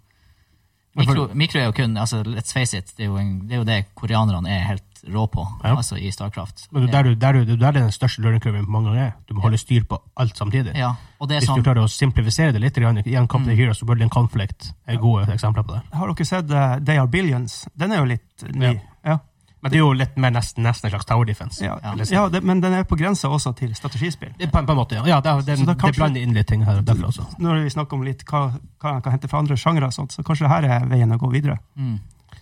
Men for- Mikro, mikro er jo kun altså, Let's face it, det er jo, en, det, er jo det koreanerne er helt rå på, Ja. altså i Starcraft. Men det er der, du- der, du- der er den største learning curven på mange ganger er. Du må holde styr på alt samtidig. Ja, og det er Hvis du sånn klarer å simplifisere det litt, grann, igjen Company Heroes og Berlin Conflict er gode eksempler på det. Har dere sett eh, They Are Billions? Den er jo litt ny. Ja. Men det er jo litt mer nesten, nesten en slags tower defense. Ja. Ja. Ja. det, men den er på grensa også til strategispill. Det- På, en- på en måte, ja. ja det, er- det, Så da det kanskje- blander inn litt ting her og der også. Når vi snakker om litt hva hva man kan hente fra andre sjangre, og sånt, så kanskje det her er veien å gå videre. mm,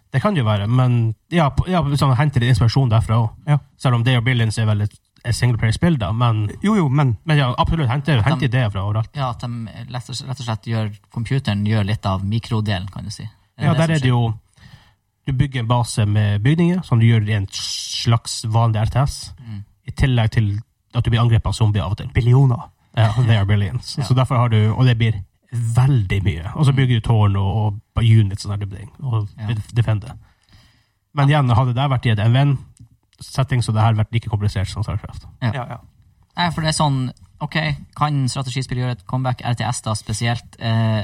Det kan det jo være, men ja, på- ja, sånn, henter litt inspirasjon derfra òg. Ja. Selv om Day of Billions er vel et et singleplayer-spill, da. Men, Jo, jo, men men ja, absolutt, henter hente ideer fra overalt. ja, at de lett og, rett og slett gjør computeren gjør litt av mikrodelen, kan du si. Det Ja, der som er det skjer. jo Du bygger en base med bygninger, som du gjør i en slags vanlig RTS, Mm. i tillegg til at du blir angrepet av zombier av og til. billioner. Ja, they are billions. Ja. Så derfor har du, og det blir veldig mye. Og så bygger du tårn og, og units og sånne ting, og Ja. defender. Men igjen, hadde det vært i et NVN-setting, så det her vært like komplisert som Starcraft. Ja. Ja, ja. Nei, for det er sånn Ok, kan strategispill gjøre et comeback? RTS da spesielt? Eh,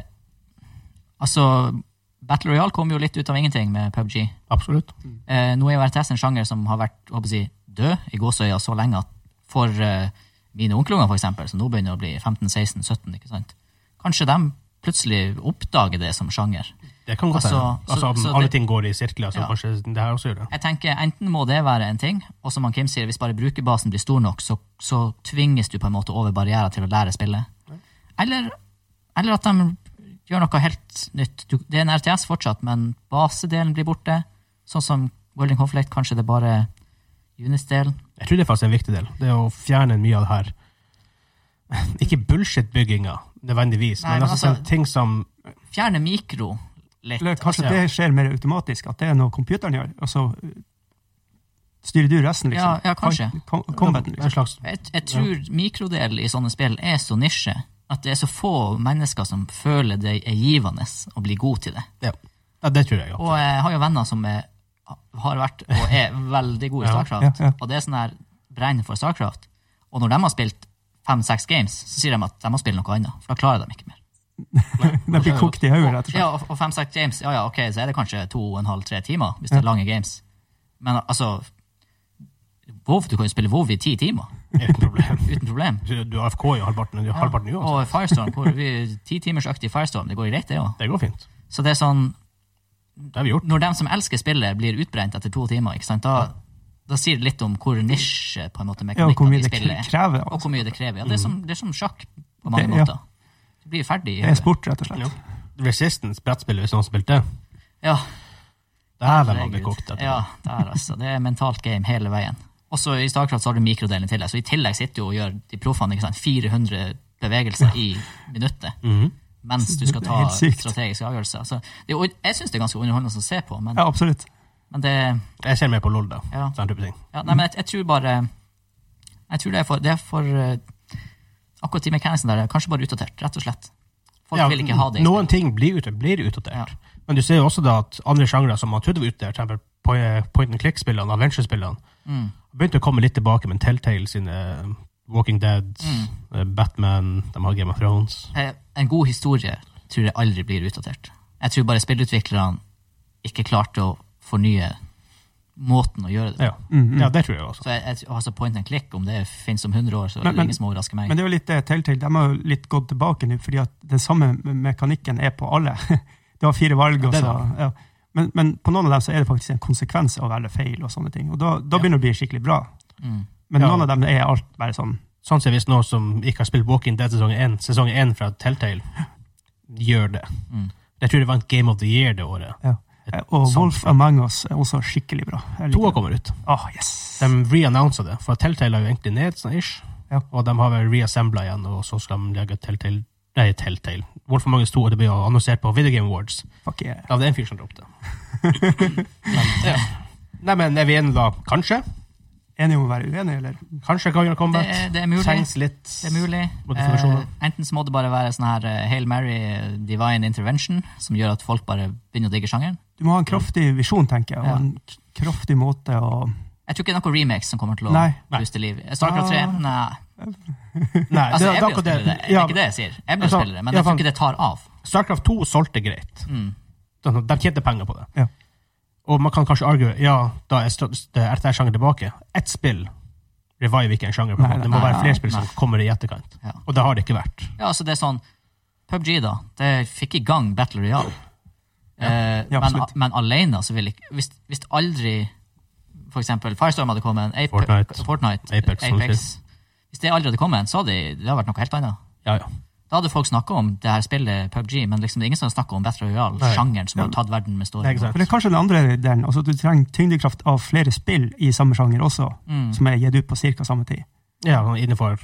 altså, Battle Royale kom jo litt ut av ingenting med PubG. Absolutt. Eh, nå er jo RTS en sjanger som har vært håper jeg, å si, død i gåsøya så lenge at for eh, mine onklunger, for eksempel, som nå begynner å bli 15-16-17, ikke sant? kanskje de plutselig oppdager det som sjanger. Det kan godt Altså, hende. Altså, så- så alle det- ting går i sirkler, så Ja. kanskje det her også gjør det. Jeg tenker Enten må det være en ting, og som han Kim sier, hvis bare brukerbasen blir stor nok, så, så tvinges du på en måte over barrierer til å lære spillet. Eller, eller at de gjør noe helt nytt. Du, det er en RTS fortsatt, men basedelen blir borte. Sånn som World in Conflict, kanskje det er bare Unis-delen. Jeg tror det er faktisk en viktig del. Det er å fjerne mye av det her. Ikke bullshit-bygginga, nødvendigvis, Nei, men, men altså, altså- sånn ting som Fjerne mikro litt. Eller kanskje Ja. det skjer mer automatisk, at det er noe computeren gjør, og så eh, styrer du resten, Ja, liksom. ja, kanskje. Kom, combaten, En liksom. slags Jeg, jeg tror mikrodel i sånne spill er så nisje at det er så få mennesker som føler det er givende å bli god til det. Ja, ja det tror jeg. Ja. Og jeg har jo venner som er, har vært og er veldig gode i Ja, Starcraft. ja, ja. Og det er sånn her brenn for Starcraft. Og når de har spilt fem-seks games, så sier de at de må spille noe annet. For da klarer de ikke mer. Den blir kokt i hodet, rett og slett. Ja, og, og fem-seks games, ja ja, ok, så er det kanskje to og en halv, tre timer, hvis det er lange games. Men altså WoW, Du kan jo spille WoW i ti timer Uten problem. uten problem. Du- Du AFK er jo halvparten, ja. halvparten uansett. Og Firestorm, hvor vi, ti timers økt i Firestorm, det går greit, det òg. Det går fint. Så det er sånn Det har vi gjort. Når de som elsker spillet, blir utbrent etter to timer, ikke sant? Da, da sier det litt om hvor nisje på en måte Ja, og mekanikken hvor mye i det spillet er. krever. Og Altså. hvor mye det krever. Ja, det, er som, det er som sjakk på mange Det- ja. måter. Du blir ferdig. i Det er hodet. sport, rett og slett. Ja. Resistance, brettspillet, hvis noen spilte det. Ja, Dæven, han ble herregud. kokt. etter ja, det. det er altså. Det er mentalt game hele veien. Også i Starcraft så har du mikrodelen i tillegg, så i tillegg sitter du og gjør de proffene ikke sant? 400 bevegelser i minuttet Mhm. mens du skal Det er ta helt sykt. strategiske avgjørelser. Så det, er jo- jeg syns det er ganske underholdende å se på, men, Ja, absolutt. men det Jeg ser mer på LOL, da. Ja. Sånn type ting. Ja, nei, men jeg, jeg tror bare Jeg tror det er for, det er for eh, Akkurat de mekanismene der er kanskje bare utdatert, rett og slett. Folk Ja, vil ikke ha det. i Noen spill. ting blir, ut, blir utdatert. Men du ser jo også da at andre sjangre som man trodde var utdatert, for eksempel po- point and click-spillene, adventure-spillene, Mm. begynte å komme litt tilbake med Telltale sine eh, Walking Dead, eh, Batman, de har Game of Thrones. mm. Eh, En god historie tror jeg aldri blir utdatert. Jeg tror bare spillutviklerne ikke klarte å fornye måten å gjøre det på. Ja, Mm, ja det tror jeg også. Så jeg, jeg, altså point and click, om det finnes om 100 år, så er Men- det men- ingen som overrasker meg. Men det er jo litt det Telltale. De har jo litt gått tilbake nå, fordi at den samme me- mekanikken er på alle. Det var fire valg, og det er så ja. men, men på noen av dem så er det faktisk en konsekvens av å velge feil, og sånne ting. Og da, da begynner det å bli skikkelig bra. Mm. Men Ja. noen av dem er alt bare sånn Sånn ser visst noen som ikke har spilt Walking Dead sesong 1, sesong 1 fra Telltale, gjør det. Mm. Jeg tror det vant Game of the Year det året. eh, Og Sånn. Wolf Among Us er også skikkelig bra. Jeg liker To det. kommer ut. Ah, yes. De reannonsa det, for Telltale er jo egentlig ned, sånn ish. Ja. Og de har vel reassembla igjen, og så skal de legge Telltale Nei, Telltale. Wolf Among Us 2 og det ble jo annonsert på Video Game Awards. Fuck yeah. Da var det en fyr som droppet det. men, ja. Nei, men er vi enige da? Kanskje? Enige om å være uenige, eller? Kanskje kan gjøre Det, combat? er- det er mulig. Trengs litt Det er mulig. Modifikasjoner. Eh, enten så må det bare være sånn her eh, Hail Mary eh, Divine Intervention, som gjør at folk bare begynner å digge sjangeren. Du må ha en kraftig visjon, tenker jeg, og Ja. en k- kraftig måte å Jeg tror ikke det er noen remakes som kommer til å Nei. Nei. puste liv. Starcraft 3? Ah. Nei. Nei, det, Altså, jeg det er blir jo akkurat det. spillere, det Ja, er ikke det jeg sier. Jeg blir Altså, spillere, men ja, jeg tror sant. ikke det tar av. Starcraft 2 solgte greit. Mm. De de tjente penger på det. Ja. Og man kan kanskje argue ja, da er RTS-sjangeren tilbake. Ett spill reviver ikke en sjanger. på en Nei, måte. Det må nei, være flere nei, spill som nei. kommer i etterkant. Ja. Og det har det ikke vært. Ja, altså det er sånn PubG, da. Det fikk i gang Battle Royale. Eh, Ja, men, absolutt. men alene så vil ikke Hvis, hvis aldri for eksempel Firestorm hadde kommet, Ape, Fortnite. Fortnite, Apex, Apex, Hvis det aldri hadde kommet, så hadde det hadde vært noe helt annet. Ja, ja. Da hadde folk snakka om det her spillet PubG, men liksom det er ingen som snakker om Battle Royale, Nei. sjangeren som Ja. har tatt verden Nei, med storyen. ikke sant. For det er kanskje den andre delen. Altså, du trenger tyngdekraft av flere spill i samme sjanger også, Mm. som er gitt ut på ca. samme tid. ja sånn innenfor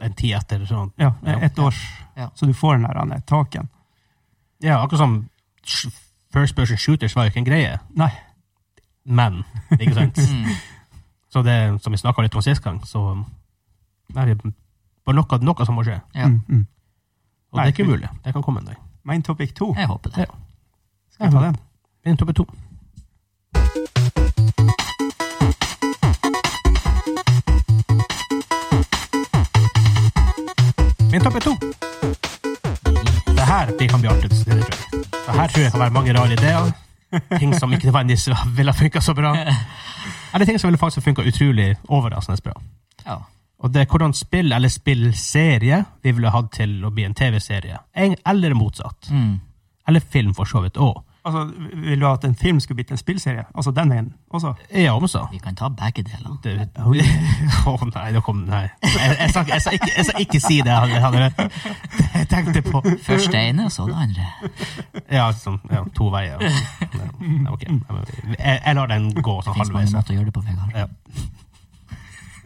en tid etter. Sånn. Ja, eh, Ja. ett års. Ja. Så du får den der Anne, taken. Ja, akkurat som sh- First Person Shooters var jo ikke en greie, Nei. men ikke sant? Mm. Så det som vi snakka litt om sist gang, så er det bare noe, noe som må skje. Ja. Mm, mm. Og det er ikke umulig. Det kan komme en dag. Main topic 2. Jeg håper det. Skal jeg ta den? Inn topp to. Min topp er to. Det her det kan bli artig. Det tror jeg. Det her tror jeg kan være mange rare ideer. Ting som ikke nødvendigvis ville ha funka så bra. Eller ting som ville faktisk funka utrolig overraskende bra. Ja. Og det er hvordan spill eller spillserie vi ville hatt til å bli en TV-serie. En- Eller motsatt. Mm. Eller film, for så vidt òg. Altså, vil du at en film skulle blitt en spillserie? Altså den veien også? Ja, om så. Vi kan ta begge deler. Det- Å nei, nå kom Nei. Jeg, jeg, skal, jeg, skal ikke, jeg skal ikke si det han, han, jeg tenkte på. Først det ene, så det andre. Ja, sånn, ja to veier. Ja, ok. Nei, men Jeg, jeg lar den gå Det sånn fins mange halvveis. måter å gjøre det på, Vegard. Ja.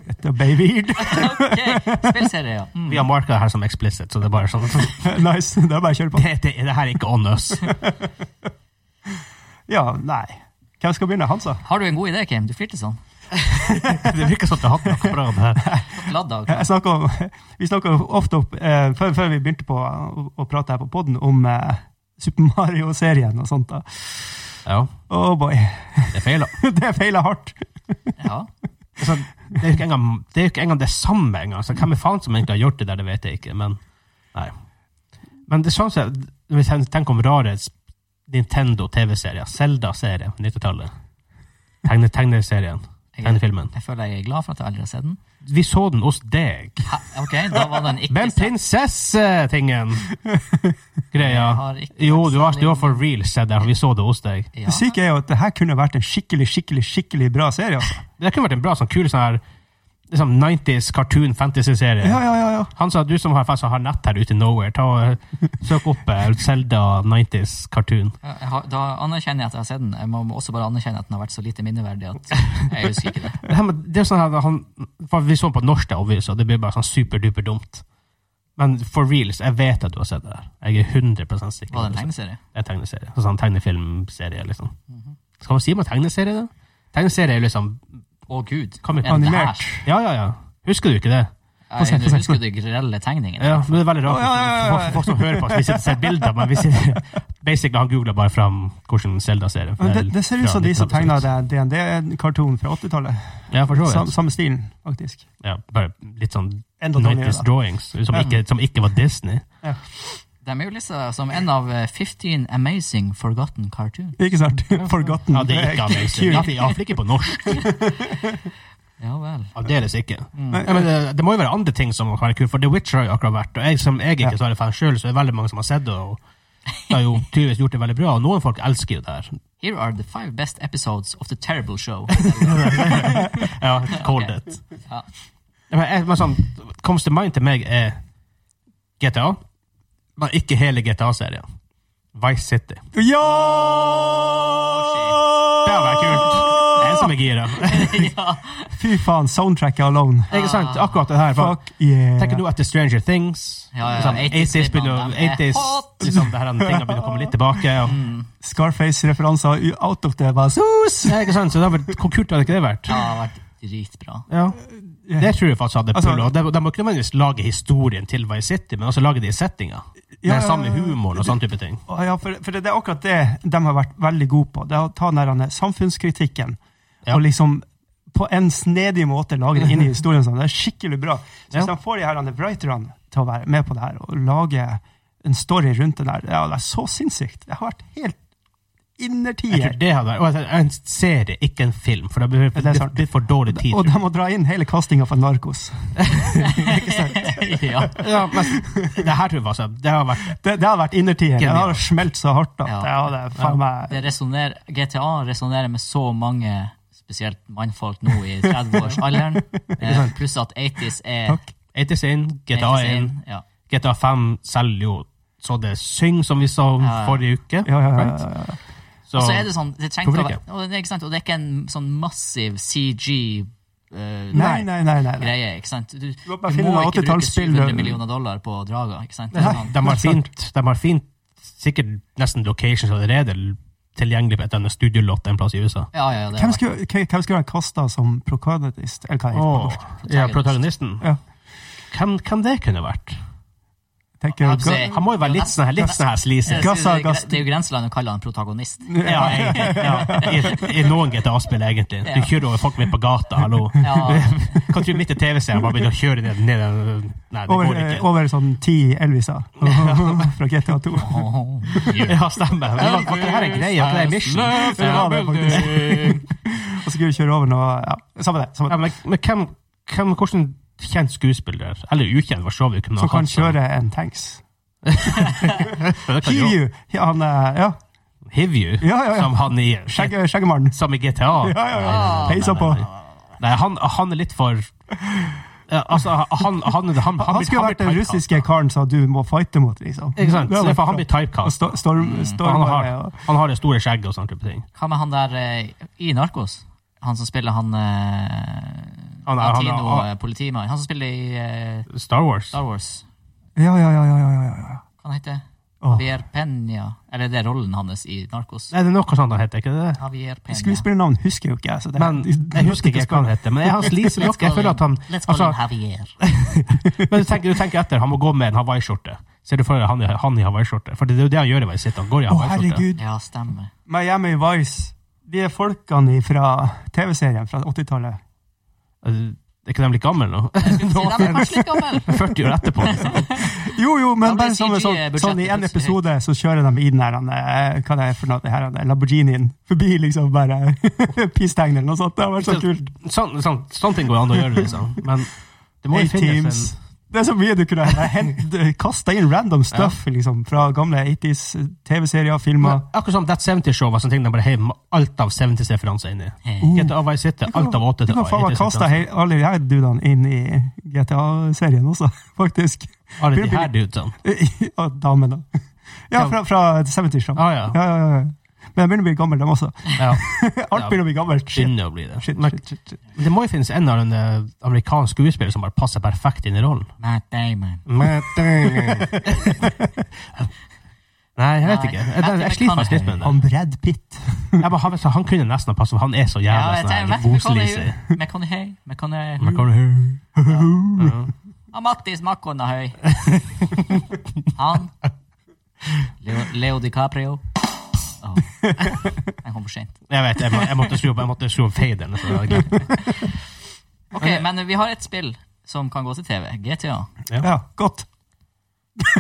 Dette er babyed. Ok, Spillserie, ja. Mm. Vi har marka det her som explicit, så det er bare sånn Det, nice. Det er bare å kjøre på. det, det her er ikke on us. Ja, nei. Hvem skal begynne? Hansa? Har du en god idé, Kim? Du flirte sånn. Det virker som at det har hatt noe bra med det her. Ladd av. Jeg snakker om, vi snakka ofte opp, eh, før, før vi begynte på å, å prate her på poden, om eh, Super Mario-serien og sånt. da. Ja, Oh boy. det feiler. Det feila hardt. Ja. Altså, det er jo ikke engang det, er jo ikke engang det samme engang. Så hvem er faen som egentlig har gjort det der, det vet jeg ikke. Men nei. Men det er sånn som når vi ten- tenker om rare s- Nintendo TV-serier, Zelda-serien på 90-tallet, Tegne tegneserien Jeg, tegnefilmen. jeg føler jeg er glad for at jeg aldri har sett den. Vi så den hos deg. Hæ? Ok, da var den ikke Den prinsesse-tingen! Jeg Greia. har ikke sånn Jo, vært du har, særlig- du har for real sett den. Vi så det hos deg. Ja. Det syke er jo at det her kunne vært en skikkelig skikkelig, skikkelig bra serie. altså. Det kunne vært en bra sånn kul sånn her liksom 90s cartoon fantasy-serie. Ja, ja, ja, ja. Han sa du som har, fast har nett her ute i nowhere, ta og søk opp eh, Zelda 90s cartoon. Ja, Jeg har, da anerkjenner jeg at jeg har sett den. Jeg må også bare anerkjenne at den har vært så lite minneverdig at jeg husker ikke det. Det, her med, det er sånn her, han, for Vi så den på norsk, det er obvious, og det blir bare sånn superduper dumt. Men for reals, jeg vet at du har sett det der. Jeg er 100 sikker. Var det på en det. tegneserie? Mhm. Det er en tegneserie. Altså en tegnefilmserie, liksom. Skal man si man tegneserie, da? Tegneserie er jo liksom Å gud. Kan vi- er det her? Animert. Ja, ja, ja. Husker du ikke det? Jeg, jeg husker de grelle tegningene. Ja, men det er veldig rart Å, ja, ja, ja, ja. for- for folk som hører på oss. Vi sitter og ser bilder, men vi sitter Basically, han googla bare fram hvordan Zelda-serien Men det, det ser ut som de som tegna DND-kartonen fra 80-tallet. Ja, for så Sam, vidt. samme stilen, faktisk. Ja, bare litt sånn Enda dårligere, 90s da. drawings, som Ja. ikke, som ikke var Disney. De er jo lista som en av eh, 15 amazing forgotten cartoon. Ikke sant? Forgotten. Ja, det er ikke amazing. Ja, for- ja, for ikke på norsk. Ja vel. Aldeles ikke. Men- Ja, men det, det må jo være andre ting som kan være kult, for The Witcher har jo akkurat vært, og jeg som jeg ikke Ja. er særlig fan sjøl, så er det veldig mange som har sett det, og det har jo tydeligvis gjort det veldig bra, og noen folk elsker jo det her. Here are the five best episodes of the terrible show. Ja, called Ok. it. Ja. Men, jeg, men sånn, comes to mind til meg er GTA, men ikke hele GTA-serien. Vice City. Ja! Det hadde vært kult. Det er jeg som er gira. Ah. ja. Fy faen, soundtracket alone. Ikke sant? Akkurat det her. For, Fuck yeah. tenker nå etter Stranger Things. Ja, ja, liksom, 80s 80s begynner å- filmene, de er 80s, hot. liksom, det her, den tingene begynner å komme litt tilbake. Og, Scarface-referanser u- out of the bazooz! ja, ikke sant? Så det hadde vært, hvor kult hadde ikke det vært? Det har vært dritbra. Ja. Det tror jeg faktisk hadde Altså- pull. Og de, de må ikke nødvendigvis lage historien til Vice City, men også lage det i settinga. Ja, ja, Med samme ja, ja. humoren og sånn type ting. Å, Ja, for, for det er akkurat det de har vært veldig gode på. Det er å ta den der denne samfunnskritikken Ja. og liksom på en snedig måte lage det inn i historien. Sånn. Det er skikkelig bra. Så hvis Ja. de får de her denne writerne til å være med på det her og lage en story rundt det der, ja, det er så sinnssykt. Det har vært helt Jeg tror innertier. det hadde vært, og jeg- En serie, ikke en film, for det blir det er blir- sant. blir for dårlig tid. Og tror de må dra inn hele castinga fra Narkos. ja. jeg. Ja, men det her tror jeg altså, det har vært Det, det har vært innertier. Det Genialt. har smelt så hardt at Ja. ja. det er faen meg Det resonerer, GTA resonerer med så mange, spesielt mannfolk nå i 30-årsalderen. Eh, Pluss at 80s er 80s inn, GTA 80s inn, Ja. GTA 5 selger jo så det synger, som vi sa Ja, ja. forrige uke. Ja, ja, ja, sant? ja, ja. Så, Og så er det sånn, det trengte Hvorfor å være, og det, er ikke sant? og det er ikke en sånn massiv CG eh, Nei, nei, nei. nei, nei. greie, ikke sant? Du, du må må bare finne noen ikke bruke 80-tallsspill. 700 millioner dollar på Draga, ikke sant? Det er sånn, de har fint, de har fint sikkert nesten locations allerede tilgjengelig på et eller annet studiolott en plass i USA. ja, ja, ja, det Hvem var, skulle, hvem hvem skulle være kasta som protagonist? Eller hva heter det? på Åh, norsk? ja, protagonisten. Ja. Hvem, hvem det kunne vært? Tenker, Jeg hva, ser- Han må jo være litt sånn her, litt sånn her sleazy. Jeg skulle si, Gassa, det, er gass- gre- det er jo grenseland å kalle han protagonist. Ja, egentlig. Ja. I, I noen GTA-spill, egentlig. Du kjører over folk midt på gata, hallo. Ja, Kan du midt i TV-serien bare begynne å kjøre ned, ned den- Nei, det over, går eh, ikke. over sånn ti Elviser fra GTA 2. oh, Ja, stemmer. Men Var var ikke det her en greie? Var ikke det en mission? Ja, det er Og så skulle vi kjøre over noe ja, Samme det. Samme Ja, det. men men hvem, hvem, hvordan kjent skuespiller, eller ukjent, for så vidt, kunne Som ha kan hatt sånn? kjøre en tanks. Det kan jo- Hiu! Ja, han eh, Ja, Hivju, Ja, ja, ja. som han i skjegge- skjeggemannen. Som i GTA. Ja, Ah, ja, ja. Nei, nei, nei, nei, Peisa på. nei, nei. Nei, han, han er litt for ja, Altså, han, han, han, han, Han blir- skulle vært den blir russiske karen som du må fighte mot, liksom. typecast. Ikke sant? Ja, Så men- det er for han blir Og typecast. sto- Og storm, han, har, stormer og han har det store skjegget og sånne type ting. Hva med han der eh, i Narkos? Han som spiller han eh, Han er- han er- Latino han- eh, politimann. Han som spiller i eh, Star Wars. Star Wars. Ja, ja, ja. ja, ja, ja, ja. Hva han heter Åh. Javier Peña. Eller det er rollen hans i Narkos. Nei, det er noe sånt han heter, ikke det? Javier Peña. Skuespillernavn husker jo ikke jeg. Så det, Men jeg husker ikke hva han heter. Men jeg, han sliser nok. Jeg føler at han Let's call altså, him Javier. Men du tenker, du tenker etter, han må gå med en Hawaii-skjorte. Ser du for deg han, i- han i Hawaii-skjorte? For det er jo det han gjør i Vice City. Han går i Å, Hawaii-skjorte. herregud. Ja, stemmer. Miami Vice. De er folkene fra TV-serien fra 80-tallet. Eh, Er ikke de litt gamle nå? De er kanskje litt gamle. 40 år etterpå. liksom. Jo, jo, Da men blir bare sånn, sånn, CG-budsjettet sånn i en plutselig episode så kjører de i den her, han, eh, hva det er for noe, det her, han, Lamborghinien, forbi liksom bare peace-tegner eller noe sånt. Det har vært så kult. Sånn, sånn, sånne ting går an å gjøre, liksom. Men det må jo finnes A-Teams. Det er så mye du kunne hente- kasta inn random stuff liksom, fra gamle 80s TV-serier, en filmer. Men Akkurat som That 70-show var sånn ting de bare heiv alt av 70s-referanser inn i. GTA Vice City, alt av 8 Mm. Du til kan faen meg kaste 80s-referanser. he- alle de her dudene inn i GTA-serien også, faktisk. Alle de her sånn. dudene. Og damene. Ja, fra, fra 70 show Ah, ja. Ja, ja, ja. Men jeg begynner å bli gammel, dem også. ja. Alt begynner å bli gammelt. Shit, Begynner å bli det. shit, Men shit, shit, shit. det må jo finnes en eller annen eh, amerikansk skuespiller som bare passer perfekt inn i rollen. Matt Damon. Nei, jeg vet ikke. Jeg, jeg, jeg sliter faktisk litt med det. Han Brad Pitt. Jeg bare, han, han kunne nesten ha passet, for han er så Ja, jævla jeg sånn tenker her McConaughey. boslisig. McConaughey. McConaughey. McConaughey. Ja, Mattis McConaughey. Han. Leo, Leo DiCaprio. Åh. Han kom for sent. Jeg vet, jeg, må, jeg måtte skru opp, jeg måtte skru opp faderen. så det var greit. Ok, men vi har et spill som kan gå til TV. GTA. Ja, godt.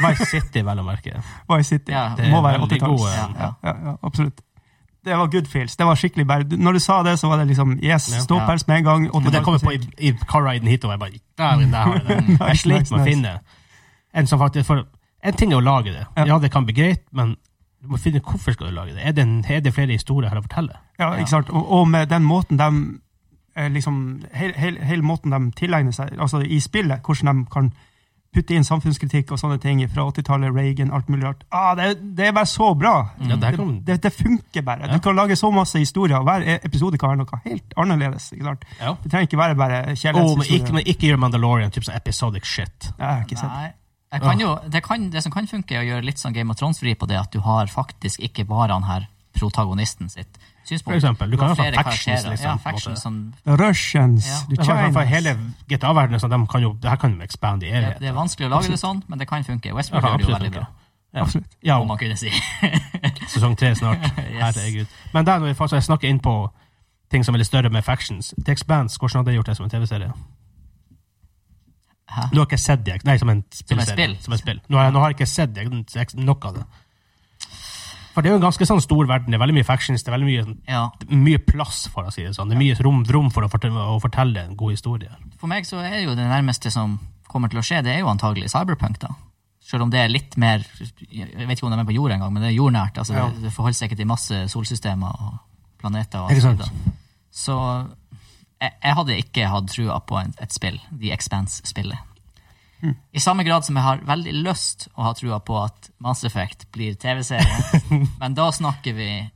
Vice City, vel å merke. Vice City. Ja. det må være veldig 80-talls. gode. Ja, ja. Ja, ja, ja, absolutt. Det var good feels. Det var skikkelig bare, Når du sa det, så var det liksom yes, Ja. ståpels med en gang. Og det kommer på i, i carriden hit, og jeg bare Dæven, der har jeg det. Jeg Nice, sleit med å nice, finne en som faktisk for, En ting er å lage det. Ja. Ja, det kan bli greit, men du må finne hvorfor skal du lage det. Er det, en, er det flere historier her å fortelle? Ja, ikke sant? Og, og med den måten de eh, liksom, Hele hel, hel måten de tilegner seg altså i spillet, hvordan de kan putte inn samfunnskritikk og sånne ting fra 80-tallet, Reagan, alt mulig rart. Ah, det, det er bare så bra! Ja, det her Det, kan, det, det funker bare. Ja. Du kan lage så masse historier, og hver e- episode kan være noe helt annerledes. ikke sant? ja. Det trenger ikke være bare Å, men, ikke, kjærlighetshistorie. men ikke gjør Mandalorian typ sånn episodic shit. Jeg har ikke sett. Nei. Jeg kan jo, det, kan, det som kan funke, er å gjøre litt sånn Game of Thrones-fri på det at du har faktisk ikke bare han her protagonisten sitt synspunkt. For eksempel, du kan har ha sånn flere factions, karakterer. liksom, Ja, sånn. på en måte. factions som, The Russians, Ja. the Ja, For, for Chinese hele GTA-verdenen, så de kan jo, det her kan jo expande i det, evighet. det er vanskelig å lage det sånn, men det kan funke. Ja, Westworld kan gjør det jo absolutt veldig funke. bra, Ja. Absolutt. Ja, om man kunne si. sesong tre snart. Yes. Herregud. Men der når vi faktisk snakker inn på ting som er litt større med factions The Expanse, hvordan hadde jeg gjort det som en TV-serie? Hæ? Du har ikke sett det? Nei, som en Som et spillserie. spill. Som et spill. Nå har, jeg, nå har jeg ikke sett det, så jeg- nok av det. For det er jo en ganske sånn stor verden. Det er veldig mye factions. Det er veldig mye, sånn- Ja. mye plass, for å si det sånn. Det er mye rom, rom for å fortelle, å fortelle en god historie. For meg så er jo det nærmeste som kommer til å skje, det er jo antagelig cyberpunk, da. Selv om det er litt mer Jeg vet ikke om de er på jorda engang, men det er jordnært. altså Ja. det, det forholder seg ikke til masse solsystemer og planeter. og Ikke alt sant? sånt da. Så jeg, jeg hadde ikke hatt trua på en, et spill, The Expanse-spillet. I samme grad som jeg har veldig lyst å ha trua på at Mass Effect blir TV-serie, men da snakker vi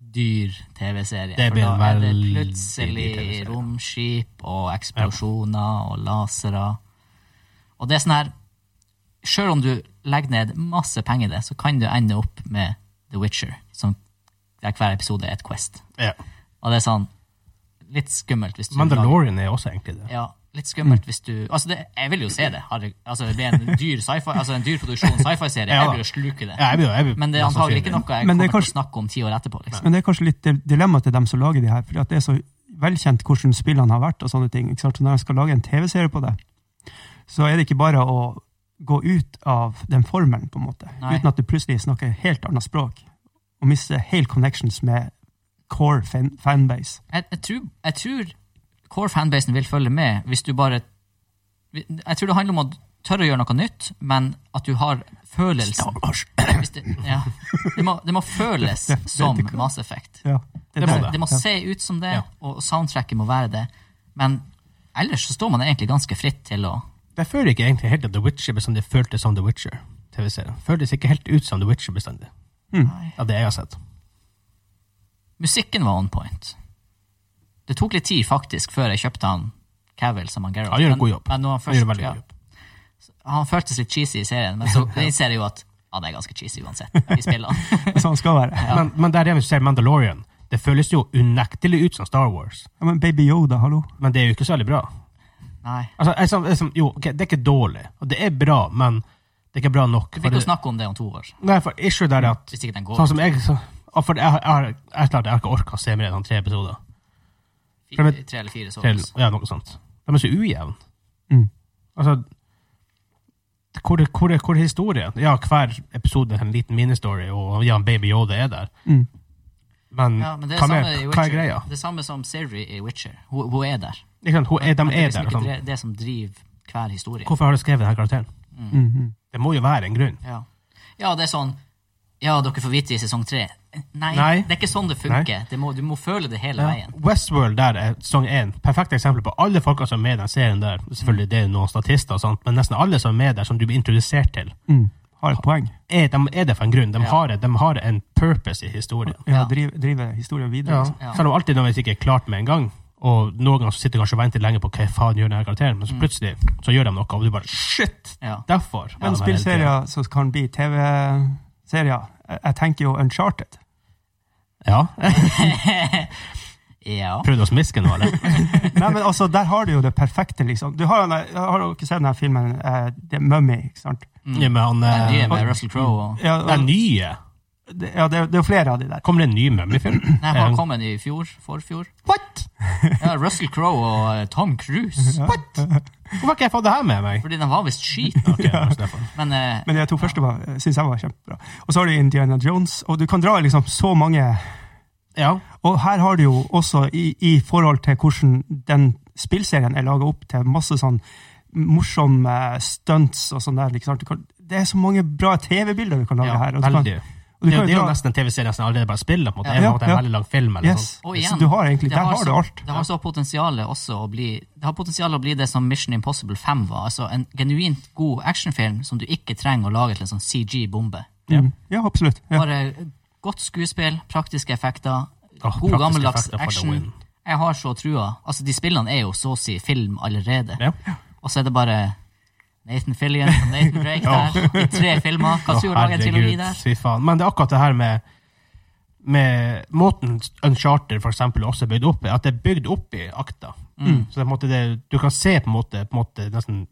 dyr TV-serie. Det For blir da er det veldig dyr plutselig TV-serie. romskip og eksplosjoner og lasere. Og det er sånn her Sjøl om du legger ned masse penger i det, så kan du ende opp med The Witcher, som der hver episode er et Quest. Ja. Og det er sånn litt skummelt hvis du Mandalorian er også egentlig det. ja, litt Mm. skummelt hvis du Altså, det, jeg vil jo se det. Harry. Altså, det blir en dyr sci-fi Altså en dyr produksjon sci-fi-serie. Ja da. Jeg vil jo sluke det. Ja, jeg blir, jeg blir, Men det er mest antagelig ikke sannsynlig. noe jeg Men kommer det til er å kanskje- snakke om ti år etterpå. liksom. Men det er kanskje litt di- dilemma til dem som lager de her, fordi at det er så velkjent hvordan spillene har vært og sånne ting. Ikke sant? Så når de skal lage en TV-serie på det, så er det ikke bare å gå ut av den formelen, på en måte. Nei. Uten at du plutselig snakker helt annet språk, og mister helt connections med core fan fanbase. Jeg, jeg, tror, jeg tror core fanbasen vil følge med hvis du bare Jeg tror det handler om å tørre å gjøre noe nytt, men at du har følelsen Hvis det, ja. det, må, det må føles Det- det- som det kan- Mass Effect. Ja, Det må der. det. Det må Ja. se ut som det, Ja. og soundtracket må være det. Men ellers så står man egentlig ganske fritt til å Jeg føler ikke egentlig helt at The Witcher bestandig føltes som The Witcher. TV-serien. Føltes ikke helt ut som The Witcher bestandig. Mm. Nei. Av det jeg har sett. Musikken var on point. Det tok litt tid faktisk før jeg kjøpte han Cavill som han Geralt. Han gjør en Men- god jobb. Men når han, Han gjør først, en veldig ja, god jobb. han føltes litt cheesy i serien, men så innser jeg jo at han er ganske cheesy uansett i spillene. Sånn skal det være. Men, men der igjen, hvis du ser Mandalorian, det føles jo unektelig ut som Star Wars. Ja, men Baby Yoda, hallo? Men det er jo ikke så veldig bra. Nei. Altså, jeg, som, jeg, som, jo, ok, det er ikke dårlig. Og det er bra, men det er ikke bra nok. Vi For fikk jo det, snakke om det om to år. nei, for issue der er at Hvis ikke den går. Sånn som jeg så, og For jeg har jeg, har- jeg, er klart jeg har ikke orka å se mer enn sånn tre episoder. Fi- for det- Tre eller fire så. Til, ja, noe sånt. De er så ujevne. Mm. Altså, Hvor, hvor, hvor er historien? Ja, hver episode er en liten ministory, og ja, Baby Yoda er der. Mm. Men Ja, men det er hva, samme mer- i hva er Witcher. greia? Det samme som Siri i Witcher. Hun, hun er der. Ikke sant, hun, er, de Men det er liksom der. ikke Sånn. det, det som driver hver historie. Hvorfor har du skrevet denne karakteren? Mhm. Det må jo være en grunn. Ja. ja, det er sånn Ja, dere får vite i sesong tre. Nei, Nei. det er ikke sånn det funker. Det må, du må føle det hele veien. Westworld der er sesong én. Perfekt eksempel på alle folka som er med i den serien der. Selvfølgelig det er jo noen statister, og sånt, men nesten alle som er med der, som du blir introdusert til, Mm. Har et poeng. er, de er der for en grunn. De, Ja. har, et- de har en purpose i historien. Ja, Ja. Drive, drive historien videre. Ja. liksom. Ja. Selv om alltid nødvendigvis ikke er klart med en gang. Og noen ganger så sitter du kanskje og venter lenge på hva faen gjør denne karakteren, Mm. men så plutselig så gjør de noe, og du bare Shit! Ja. Derfor. er Men de her hele tiden. spillserier som kan bli TV-serier Jeg jeg tenker jo Uncharted. Ja. ja. Prøvde å smiske nå, Mm. eller? Nei, men altså, Der har du jo det perfekte, liksom. Du har, den der- har du ikke sett denne filmen eh, The Mummy? ikke sant? Ja, men han Den nye eh, med Russell Crowe og Ja, og, Den nye? det- ja det, er- det er jo flere av de der. Kommer det en ny Mummifilm? Nei, han kom den i fjor. Forfjor. What?! Ja, Russell Crowe og eh, Tom Cruise. What?! Hvorfor har ikke jeg fått det her med meg? Fordi den var visst skit. Ok, det er derfor. Men eh, Men de to første var- synes jeg var kjempebra. Og så har du Indiana Jones, og du kan dra liksom så mange Ja. Og her har du jo også, i, i forhold til hvordan den spillserien er laga opp til masse sånn morsomme stunts og sånn der. Ikke sant? Du kan, det er så mange bra TV-bilder du kan lage Ja, her. Og du kan, Veldig. og du Det er jo- det kan er jo jo dra, nesten en TV-serie som allerede bare spiller. på en måte. Det er Ja, på en måte en ja. veldig lang film. eller sånn. yes. sånt. Og igjen, Så sånn. du har egentlig, det der har har du så- alt. Det har så potensial også å bli Det har potensial å bli det som Mission Impossible 5 var. Altså en genuint god actionfilm som du ikke trenger å lage til en sånn CG-bombe. Ja. Mm. Ja, absolutt. Ja. Bare eh, godt skuespill, praktiske effekter, Åh, god praktiske gammeldags effekter for the action. win. Jeg har så trua. Altså, de spillene er jo så å si film allerede. Ja. Og så er det bare Nathan Fillion og Nathan Drake Ja. der i tre filmer. Kan du Å, lage en trilogi der? herregud, fy faen. Men det er akkurat det her med med måten Uncharted for eksempel, også er bygd opp i, at det er bygd opp i akta. Så det er på en måte det, du kan se på en måte, på en måte nesten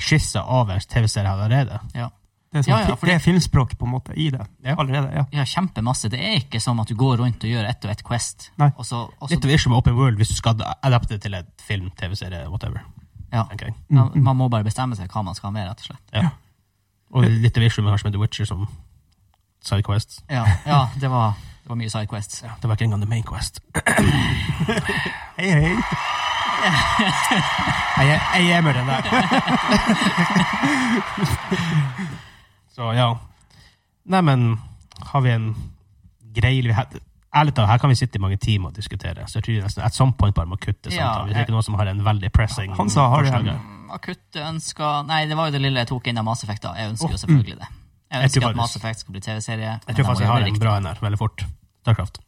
skissa av en TV-serie allerede. Ja. Det er, sånn, Ja, ja, fi- fordi- det er filmspråk på en måte i det Ja. allerede. ja. ja, kjempemasse. Det er ikke som at du går rundt og gjør ett og ett Quest. Nei. Og så, og så Litt av issue med Open World hvis du skal adapte det til et film, TV-serie, whatever. Ja. tenker jeg. Man, man må bare bestemme seg hva man skal ha med, rett og slett. Ja. Og litt av issue med kanskje med The Witcher som side quest. Ja, ja det, var, det var mye sidequests. Det var ikke engang The Main Quest. Hei, hei. Jeg, jeg er med den der. Så ja. Nei, men har vi en greie vi har- Ærlig talt, her kan vi sitte i mange timer og diskutere. Så jeg tror nesten at some point bare må kutte Ja, samtalen. Hvis det jeg- er ikke noen som har en veldig pressing Han sa, har du forslag en- her. Mm, Akutte ønsker Nei, det var jo det lille jeg tok inn av Mass Effect, da. Jeg ønsker Åh, jo mm. selvfølgelig det. Jeg Jeg tror ønsker at faktisk- Mass Effect skal bli TV-serie. men Jeg tror da må faktisk jeg har gjøre det en riktig. bra en her, veldig fort. Starcraft.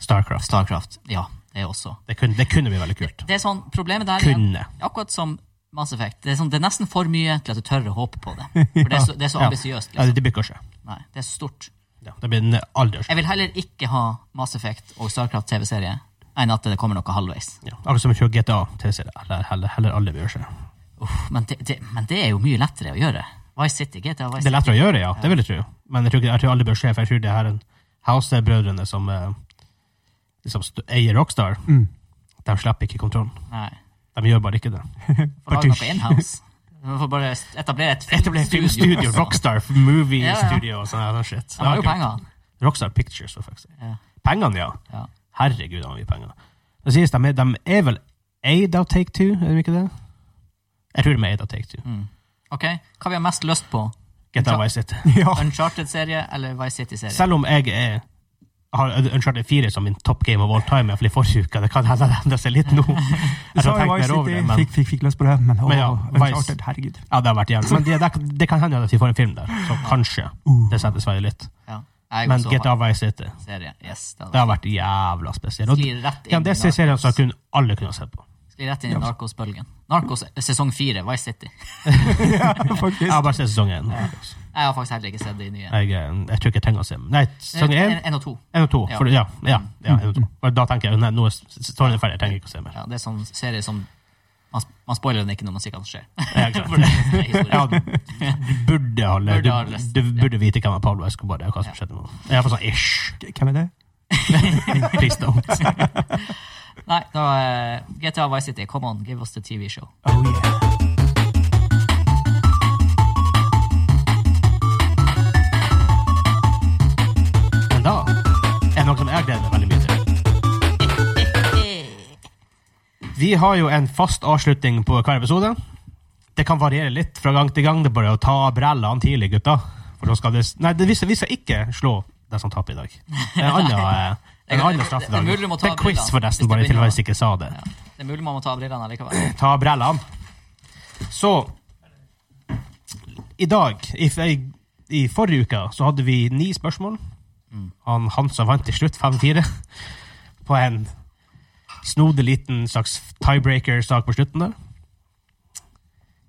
Starcraft. Starcraft. Ja, det er også. Det kunne, det kunne bli veldig kult. Det er sånn, Problemet der igjen, Kunne. akkurat som Mass Effect, det er, sånn, det er nesten for mye til at du tør å håpe på det. For det er så, det er så Ja. ambisiøst. Ja, Liksom. det blir kanskje. Nei, det er så stort. Ja, det blir en alders. Jeg vil heller ikke ha Mass Effect og Starcraft TV-serie enn at det kommer noe halvveis. Ja. Akkurat som å kjøre GTA TV-serie. Eller heller, heller alle bør seg. Uff, men, det, det, men det er jo mye lettere å gjøre. Vice City, GTA Vice Det er City. lettere å gjøre, ja. Det vil jeg tro. Men jeg tror, ikke, jeg tror alle bør se, for jeg tror det her er en House-brødrene som eh, liksom st- eier Rockstar. Mm. De slipper ikke kontrollen. Nei. De gjør bare ikke det. Får lage noe inhouse. Man får bare etablere et Etablere filmstudio, også. Rockstar Movie Ja, ja. Studio og sånn her shit. De har jo Ja, kult. penger. Rockstar Pictures, for faktisk. Ja. Pengene, ja. Ja. Herregud, de har mye penger. Det sies de, er- de er vel eid av Take Two, er de ikke det? Jeg tror de er eid av Take Two. mm. Ok, Hva vi har mest lyst på? GTA Ja. Vice City. Ja. Uncharted-serie eller Vice City-serie? Selv om jeg er, har Uncharted 4 som min top game of all time, iallfall i forrige uke Det kan hende det endrer seg litt nå. Du Jeg sa har tenkt jo Vice mer over City, det, men fikk, fikk, fikk lyst på det, men, å, Men ja, Uncharted, herregud. ja, det har vært jævlig. Men det, det, det kan hende at vi får en film der, så kanskje. Det setter seg litt. Ja. Jeg Men også har GTA Vice City, serie. Yes, det det hadde har vært jævla spesielt. Og Sklir rett ja, inn, det i er serien som Narcos. kun alle kunne ha sett på. Sklir rett inn i Narcos-bølgen. Narcos sesong fire, Vice City. Ja, faktisk. Jeg har bare sett sesong én. Jeg har faktisk heller ikke sett de nye. Eh, Jeg, eh, jeg tror ikke jeg trenger å se Nei, sesong én, En- en og to. én og to. Ja. For, ja, ja, ja, en og Mm. to. For da tenker jeg nei, nå er storyen ferdig, jeg trenger ikke å se mer. Ja, det er sånn serie som man, man spoiler den ikke når man sier hva som skjer. Ja, ikke sant. For det er historie. Ja, du burde ha levd. Burde ha Du, lest, du burde vite hvem er Pablo Escobar er, og hva som Ja. skjedde med ham. Jeg er for sånn ish. Hvem er det? Please don't. Nei, da eh, GTA Vice City, come on, give us the TV show. Oh, yeah. Vi har jo en fast avslutning på hver episode. Det kan variere litt fra gang til gang. Det er bare å ta av brillene tidlig, gutta. For da skal det Nei, det, vi, skal, vi skal ikke slå den som taper i dag. Det er en annen, eh, Det er- en annen det- straff i det er dag. mulig du må ta Det er quiz, brillene, forresten, hvis bare det i tilfelle jeg begynner. ikke sa det. Ja. Det er mulig man må ta av brillene likevel. Ta av brillene. Så I dag i, f- I forrige uke så hadde vi ni spørsmål. Mm. Han Hansa vant til slutt 5-4 på en snodig liten slags tiebreaker-sak på slutten der.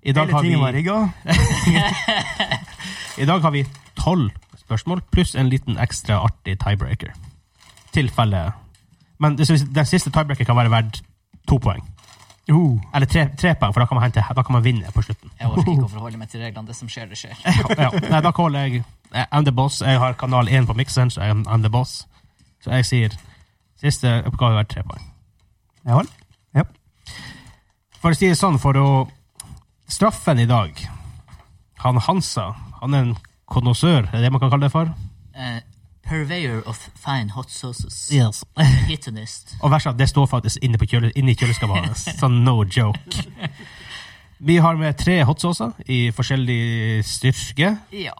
I dag Hele har tingen var vi, rigga. i dag har vi tolv spørsmål pluss en liten ekstra artig tiebreaker. Tilfelle Men det, synes- den siste tiebreaker kan være verdt to poeng. Oh, Eller tre, tre poeng, for da kan man, hente, da kan man vinne på slutten. Jeg orker ikke å forholde meg til reglene. Det som skjer, det skjer. ja. Nei, da caller jeg eh, I'm the boss. Jeg har kanal 1 på mikseren, så jeg er I'm the boss. Så jeg sier siste oppgave er tre poeng. ja vel. For å si det sånn, for å Straffen i dag Han Hansa, han er en konnoissør, er det det man kan kalle det for? Eh, purveyor of fine hot sauces. Yes. Hittonist. Og verst at det står faktisk inne, på kjøle, inne i kjøleskapet hans. Sånn no joke. Vi har med tre hotsauser i forskjellig styrke. Ja.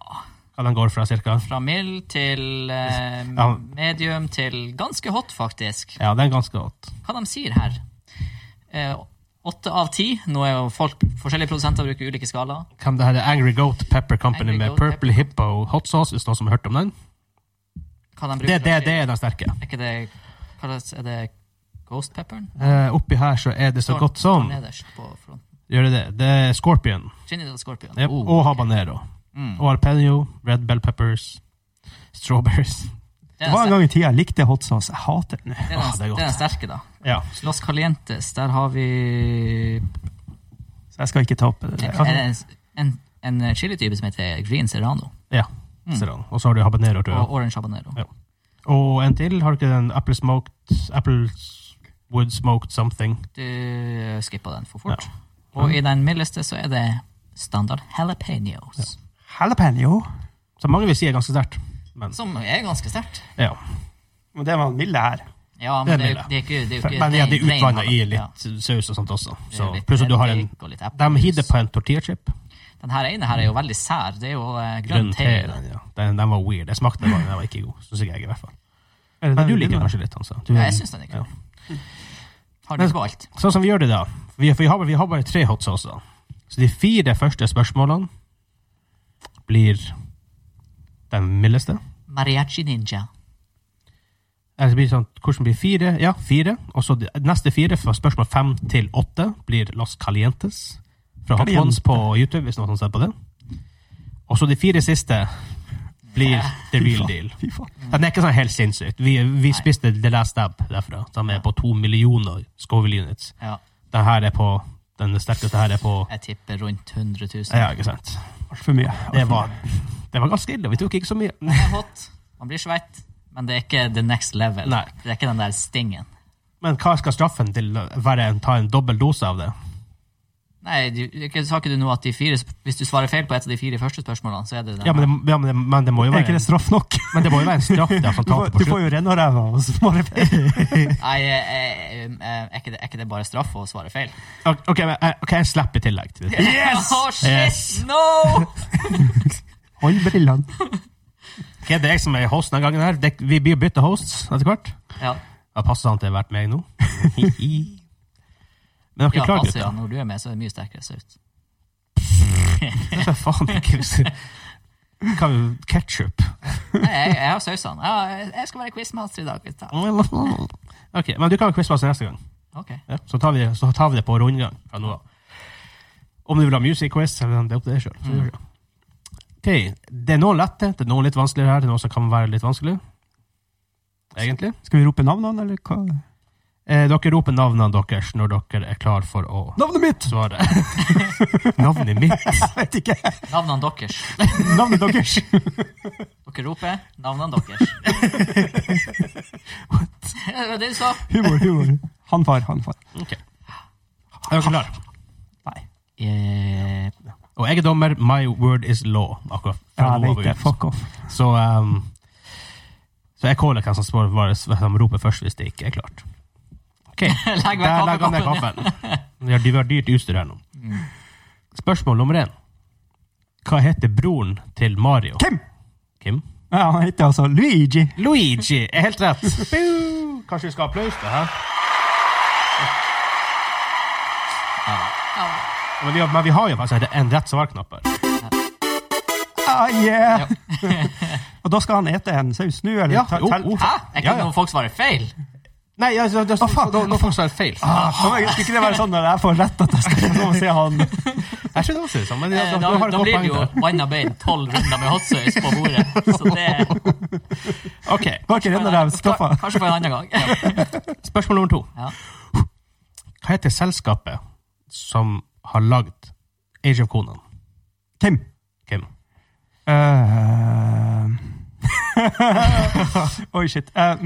Hva den går fra, cirka? Fra mild til eh, Ja. medium til ganske hot, faktisk. Ja, den er ganske hot. Hva de sier her? Eh, Åtte av ti. Nå er jo folk, forskjellige produsenter bruker ulike skalaer. Hvem det her er Angry Goat Pepper Company Angry med Goat Purple Hippo Hot Sauce, hvis noen som har hørt om den. Hva de bruker Det, det, av- det er den sterke. Er ikke det, hva er det, er det ghost pepperen? Eh, oppi her så er det så Står- godt står som Nederst på fronten. Gjør det det? Det er Scorpion. Trinidad Scorpion. Oh. Yep. Og habanero. Mm. Og arpeggio, red bell peppers, strawberries. Det Det er var en den ster- gang i tida jeg likte hot sauce. Jeg hater den. det er Ah, det er den- godt. det er den sterke, da. Ja. Los Calientes, der har vi Så jeg skal ikke ta opp det. en, en, en, en chilitype som heter green serrano. ja. Mm. Ser han. Og så har du habanero, tror jeg. Og orange habanero. Ja. Og en til. Har du ikke den apple smoked Apple s- wood smoked something? Du skipper den for fort. Ja. Og i den mildeste så er det standard jalapeños, Jalapeno. Som mange vil si er ganske sterkt. Men som er ganske sterkt. ja. Og det var den milde her. Ja, Det er men det er, jo- milde. det er ikke det er jo ikke Men ja, det er rein- rein utvanna i jalapeño. litt saus og sånt også. Det er Så, jo litt pluss at du har en eddik og litt De eplejus. hider på en tortilla chip. Den her ene her er jo veldig sær. Det er jo eh, grønn Grønn te. te. Den, ja. den, den var weird. Jeg smakte den, bare, den var ikke god. Synes ikke jeg i hvert fall. Er det Men den du milde? liker den kanskje litt, altså. Du, Ja, jeg syns den er Ja. kul. Har du ikke på alt? Sånn som vi gjør det da. Vi, for vi, har, bare- vi har bare tre hot saucer. Så de fire første spørsmålene blir den mildeste. Mariachi ninja. Eller så blir det sånn, hvordan blir fire? Ja, fire. Og så de neste fire, fra spørsmål fem til åtte, blir Los Calientes. Fra Hot Ones Caliente. på YouTube, hvis noen ser på det. Og så de fire siste blir The Real Deal. Fy faen. Den er ikke sånn helt sinnssykt. Vi, vi spiste The Last Stab derfra, som er på to millioner Scoville units. Ja, Den her er på Den sterkeste her er på jeg tipper rundt 100 000. Ja, ikke sant? Altfor mye. Det var, det var ganske ille. Vi tok ikke så mye. Det er hot, man blir svett, men det er ikke the next level. Nei. Det er ikke den der stingen. Men hva skal straffen til å være en, ta en dobbel dose av det? Nei, du, ikke, sa ikke du nå at de fire, sp- hvis du svarer feil på et av de fire første spørsmålene, så er det den Ja, men det, ja, men det, men det må jo Er være ikke det en, straff nok? men det må jo være en straff der som Du får, taper på du får slutten. jo rennaræva og smårepeil. Nei, eh, eh, eh, er, ikke det, er ikke det bare straff å svare feil? Ok, men, eh, ok, jeg slipper i tillegg. til det. Yes! Oh, shit, Yes! no! Håndbrillene. Ok, det er jeg som er host denne gangen. her. Det, vi blir jo bytte hosts etter hvert. Ja, Ja, passer han til å ha vært meg nå? Men er dere ja klare, altså, gutter? ja, når du er med, så er det mye sterkere saut. Det er faen ikke Hva er ketchup? Nei, jeg, jeg har sausene. Ja, jeg- jeg skal være quizmaster i dag. gutta. Ok, men du kan ha quizmaster neste gang. Ok. Ja, så, tar vi det, så tar vi det på rundgang fra nå av. Om du vil ha music quiz, eller det er opp til deg sjøl. Mm. Ok, Det er noen lette, det er noen litt vanskeligere her, det er noen som kan være litt vanskelig. Egentlig. Skal vi rope navnene, eller hva? Eh, dere roper navnene deres når dere er klar for å Navnet mitt! svare. Navnet mitt. Jeg vet ikke. Navnene deres. Navnet deres. Dere roper navnene deres. Det var det du sa. Humor, humor. Han far, han far. Ok. Er dere klare? Nei. Eh, Og jeg er dommer. My word is law. Akkurat. Ja, fra jeg nå av vet det. ut. Fuck off. Så, ehm, så jeg caller hvem som spør, hva som roper først, hvis det ikke er klart. OK, der Legg vekk legger han ned kaffen. kaffekoppen. Vi har- Vi har dyrt utstyr her nå. Spørsmål nummer én. Hva heter broren til Mario? Kim! Kim? Ja, han heter altså Luigi. Luigi er helt rett. Boo! Kanskje vi skal ha applaus til det her? Men vi, har, men vi har jo faktisk en rett svarknapp her. Ah, yeah! og da skal han ete en saus nå, eller? Ja, ta- jo, oh. tel- jo. Hæ? Er ikke Ja, ja. det noe folk svarer feil? Nei, altså, det, Å, faen. nå, nå får jeg feil. Ah, kom igjen, Skulle ikke det være sånn når jeg får rett at jeg skal få lov å se han? Jeg skjønner også det sånn, men Eh, da, Da, da har jeg da et godt blir det poeng jo der. vann av bein tolv runder med hot sauce på bordet. Så det Ok, Var ikke den der skaffa? Kanskje for en annen gang. Spørsmål nummer to. Ja. Hva heter selskapet som har lagd Age of Conan? Kim. Kim? Eh, Oi, shit. Eh, mm.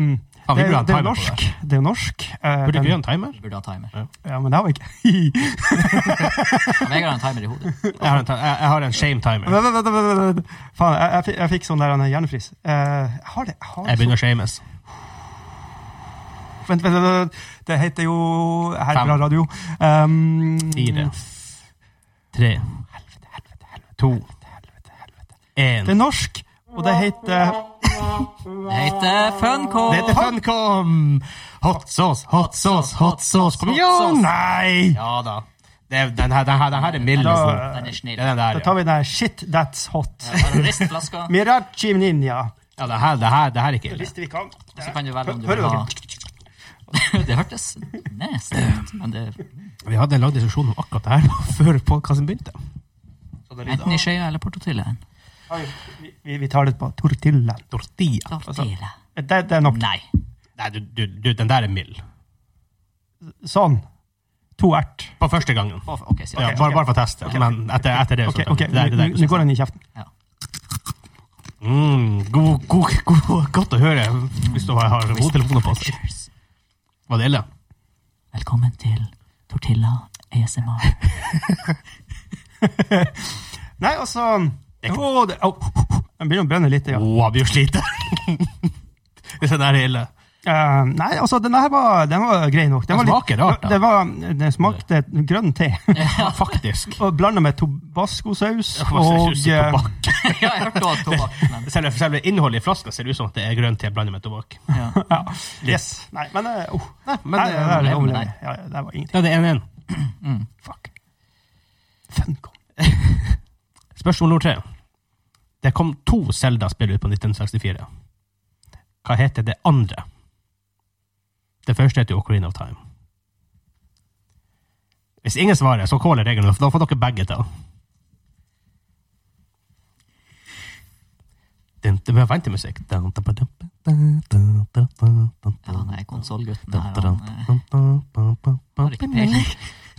Faen, Ah, vi det, er burde ha jo- en timer det er jo på norsk. det. Det er jo norsk. Eh, Burde den- ikke vi ha en timer? Burde ha timer. ja, men det har vi ikke. Ja, Vegard har en timer i hodet. Jeg har en, ti- jeg, jeg har en shame timer. Vent, vent, vent, vent, vent, vent. Faen, jeg, jeg, fikk- jeg fikk sånn der en hjernefrys. Eh, jeg har det. Jeg har Jeg det. begynner å shames. så- Vent, vent, vent, vent. Det heter jo Her er Fem. bra radio. Um, Fire. Tre. Helvete, helvete, helvete, To. helvete, helvete. Det En. er norsk, og det heter Det heter Funco. Det heter Funcom! Hot sauce, hot sauce, hot sauce. Kom Hot igjen! sauce. Nei! Ja da. Det, er- den her, den her, den her er mildest. Da- Den er Det snill. er den der, ja. Da tar vi den her Shit, that's hot. Bare rist flaska, Mirachi Ninja. ja det her, det her, det her er ikke ille. Hvis vi kan. så kan du velge om du Hører vil dere? ha Det hørtes nasty ut, men det Vi hadde en lang diskusjon om akkurat det her før podkasten begynte. Enten i skjea eller portotillaen. Oi, vi- Vi, vi tar det på tortilla. Tortilla. altså. Tortilla. Det, det er nok Nei. Nei, du, du, du, den der er mild. sånn. To ert. På første gangen. Å, Ok, sier Ja, jeg. bare, bare for å teste. Men etter, etter det Ok, så Sånn. ok, det, er- det, nå- er- nå går den i kjeften. mm, god, god, god, Godt å høre hvis du har har hodetelefoner på seg. Cheers. Var det ille? Velkommen til Tortilla ASMR. Nei, og så Å, det- au. Den begynner å brenne litt. Ja. Å, jeg blir jo sliten. Hvis den der er ille. Eh, nei, altså, den her var, den var grei nok. Den, Den var litt- smaker rart, da. Den, var, den smakte grønn te. Faktisk. Og blanda med tobascosaus Det var så og tjus i eh, tobakk. Ja, jeg hørte også tobakk, men Selve, selve innholdet i flaska ser ut som at det er grønn te blandet med tobakk. ja. ja, Yes. Nei, men eh, oh. Nei, men Nei, det det, der er men- eh, overlevelig. Ja, ja, det var ingenting. det er 1-1. Fuck. Funcom. Spørsmål nummer tre. Det kom to Zelda-spill ut på 1964. Hva heter det andre? Det første heter jo Ocarina of Time. Hvis ingen svarer, så caller jeg reglene. for Da får dere begge til. Dun, dun, men Vent til musikk. Dun, dun, dun, dun, dun, dun, dun, dun, dun, Ja, dun, han er konsolgutten dun, her. dun, Han, eh, dun, dun, dun, dun, dun, har ikke peiling.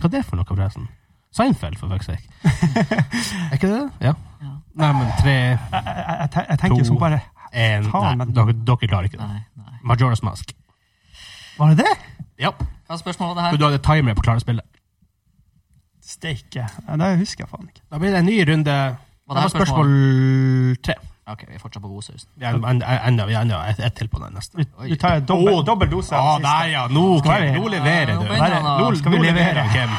Hva er det for noe, forresten? Seinfeld, for fuck's sake. er ikke det det? Ja. Ja. Nei, men tre Jeg, jeg, jeg, te- jeg tenker jo To. sånn bare en, Faen, Nei, men- dere, dere klarer ikke det. Nei, nei. Majora's Mask. Var det det? Ja. Hva spørsmålet Men var det her? du hadde timer på å klare spillet. Steike. Ja, Det husker jeg faen ikke. Da blir det en ny runde. Var Det var spørsmål tre. Ok, vi er fortsatt på godsausen. Vi er en- enda vi er enda ett et til på den neste. Oi. Du tar dobbel, Å, dobbel dose Ja, av den der, siste. ja. Nå, Skal Kim, vi- nå leverer Ja, nå du. begynner han å- Nå, skal vi nå leverer levere? han, Kim.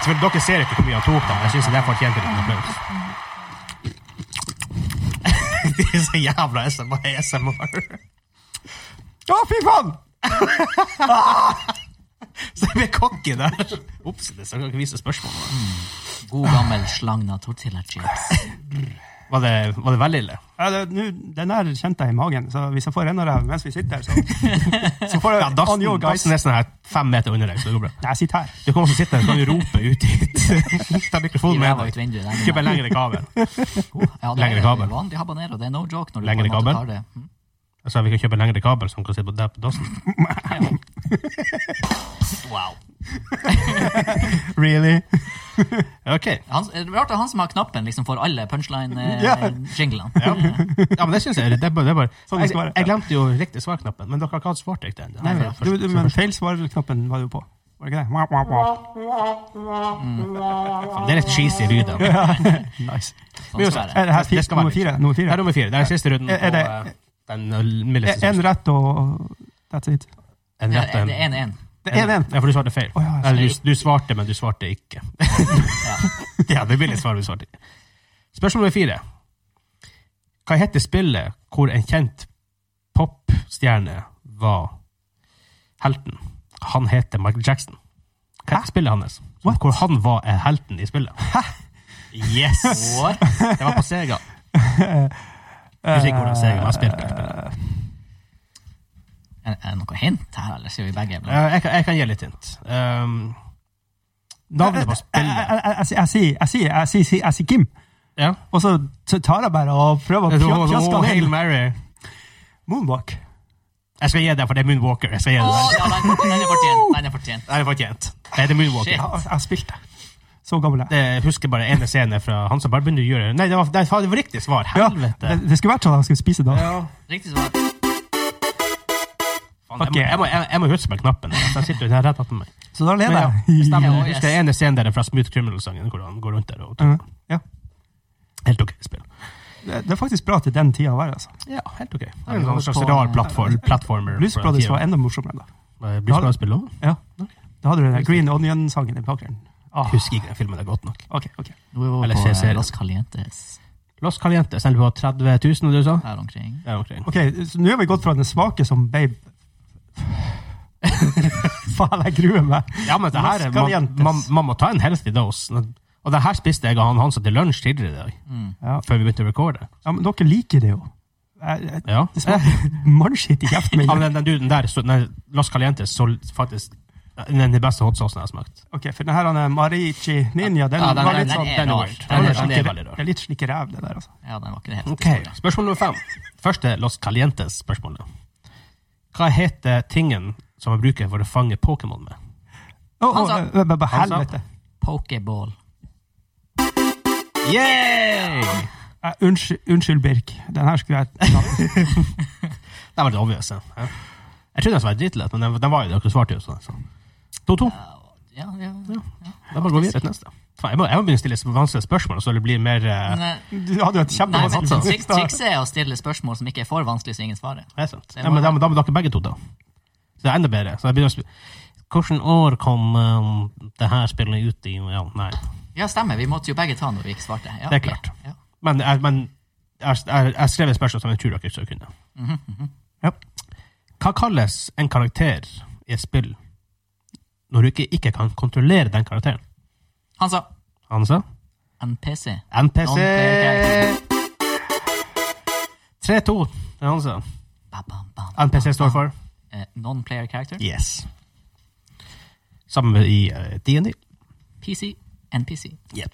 Så Dere ser ikke hvor mye han tok, da. men Jeg syns det fortjente litt applaus. De er så jævla SMR. ASMR. Å, fy faen! Så jeg ble cocky der. Ops, det skal jeg ikke vise spørsmålet. God gammel slagna tortilla chips. Var det, var det veldig ille? Ja, det, nu, den her kjente jeg i magen, så hvis jeg får en av dem mens vi sitter her, så, så får jeg Ja, dassen, on your guys. dassen er sånn her fem meter under deg, så det går bra. Nei, jeg sitter her. Du kan også sitte der, så kan du rope ut hit. Ta mikrofonen Ræva med deg. ut vinduet. den er Kjøp en lengre kabel. Ja, det Lengre er kabel. vanlig habanero. Det er no joke når du Lengre på en måte kabel. tar det. Mm. Altså, vi kan kjøpe en lengre kabel som kan sitte på der på dassen. Wow. Really? Ok. Han, det er rart at han som har knappen, liksom får alle eh, Ja. punchline-jinglene. Ja. ja, men det synes jeg. Det er bare, det er bare. Sånn det skal Jeg, være. jeg glemte jo riktig svarknappen, men dere har ikke hatt svart riktig ennå. Nei, du, du, men feilsvarerknappen var du på. Var det ikke det? Wah, wah, wah. Det er litt cheesy lyd. da. Nice. Sånn skal det være. Er det her Det fi, skal være nummer litt. fire? Nummer Det fire? er nummer fire. Det er siste runden Er- er på det- eh, den mildeste. En rett og og that's it. En Ja, rett og det en er 1-1. Det er den! Ja, for du svarte feil. Å, ja, Eller, du, du svarte, men du svarte ikke. Ja. ja, det blir litt svar du svarte ikke. Spørsmål nummer fire. Hva heter spillet hvor en kjent popstjerne var helten? Han heter Michael Jackson. Hva heter spillet hans? Som, What? hvor han var eh, helten i spillet. Yes! What? Det var på Sega. Eh, Jeg husker ikke hvordan Sega men jeg spilte det spillet. Er er det noe hint her, eller sier vi begge? Eh, Jeg kan, jeg kan gi litt hint. Um, navnet på Jeg- spillet jeg- jeg- jeg sier- jeg sier- jeg sier- jeg sier- jeg sier Kim, Ja. og så så tar jeg bare og prøver å Det pja- var- det pjaske var han Hail hele Mary. Moonwalk. Jeg skal gi deg, for det er Moonwalker. Jeg skal gi Å, deg den. ja, den, den er fortjent. Den er fortjent. Nei, det var ikke jent. Nei, det er Moonwalker. Shit. Jeg jeg har spilt det. Så gammel er jeg. Det, jeg husker bare ene scene fra han som bare begynte å gjøre Nei, det var, det var riktig svar. Ja, Helvete. det, det skulle vært sånn at jeg skulle spise da. Ja. Riktig svar. Faen, jeg, må, jeg, må, jeg, jeg må huske meg knappen. Den sitter jo der rett attmed meg. Så da Men leder ja, jeg. det stemmer. Ja, Jeg husker yes. ene scenen der fra Smooth Criminal-sangen, hvor han går rundt der og Ja. Ja. Helt ok spill. Det, det er faktisk bra til den tida å være. altså. Ja, helt ok. Det Ja, er en sånn vi slags holder på- rar plattform, platformer. Blues Brothers var enda morsommere da. Blues-spill òg? Ja. Da hadde du den Green Onion-sangen i bakgrunnen. Ah, Husker ikke den filmen det er godt nok. ok, ok. Nå er vi Eller over se på eh, serien. Los Calientes. Los Calientes selger på 30 000, du sa? Her omkring. Der omkring. Ok, så Nå har vi gått fra den svake som babe Faen, jeg gruer meg. Ja, men det her, er- man, Mascalientes. man, man må ta en healthy dose. Og det her spiste jeg og han Hansa til lunsj tidligere i dag, Mm. Ja. før vi begynte å recorde. Ja, men dere liker det jo. Jeg- jeg- Ja. Det smaker mannskitt i kjeften Ja, men min. den, den duden der, så, den Los Calientes, så faktisk den er den beste hotsaucen jeg har smakt. Ok, For den her han er Marici Ninja, den, Ja, den- den- var den litt sånn er den rar. weird. Den var er- den er skikkelig- veldig rar. Det er litt slik ræv, det der, altså. Ja, den var ikke det helt Ok, Spørsmål nummer fem. Først er Los Calientes-spørsmålet. Hva heter tingen som man bruker for å fange Pokémon med? Å, å, Hansa. ø- ø- ø- Hansa. helvete. Pokeball. Yay! Eh, Unnskyld, unnskyld, Birk. Den her skulle jeg Det var det obvious. ja. Jeg trodde den var dritlett, men den, den var jo det. Dere svarte jo sånn. så. 2-2. Ja, ja. Da bare går vi videre til neste. Faen, Jeg må, jeg må begynne å stille så vanskelige spørsmål, så det blir mer eh, Men, eh, Du hadde jo et Nei, men satsa. kjempevanskelig triks- Trikset er å stille spørsmål som ikke er for vanskelig, så ingen svarer. Det er sant. Det Ja, men må- da, da må dere begge to, da. Så det er enda bedre. Så jeg begynner å sp- Hvilket år kom um, det her spillet ut i ja, Nei. Ja, stemmer. Vi måtte jo begge ta når vi ikke svarte. Ja, Det er klart. Ja, ja. Men, jeg, men jeg, jeg, jeg skrev et spørsmål som jeg tror dere skal kunne. Mhm, mhm. Hva kalles en karakter i et spill når du ikke, ikke kan kontrollere den karakteren? Han sa Han sa NPC. NPC. Non-player 3-2. Det er han sa. Ba, bam, bam, NPC bam, står bam. for Eh, Non-player character. Yes. Samme i eh, D&D. PC. NPC. Jepp.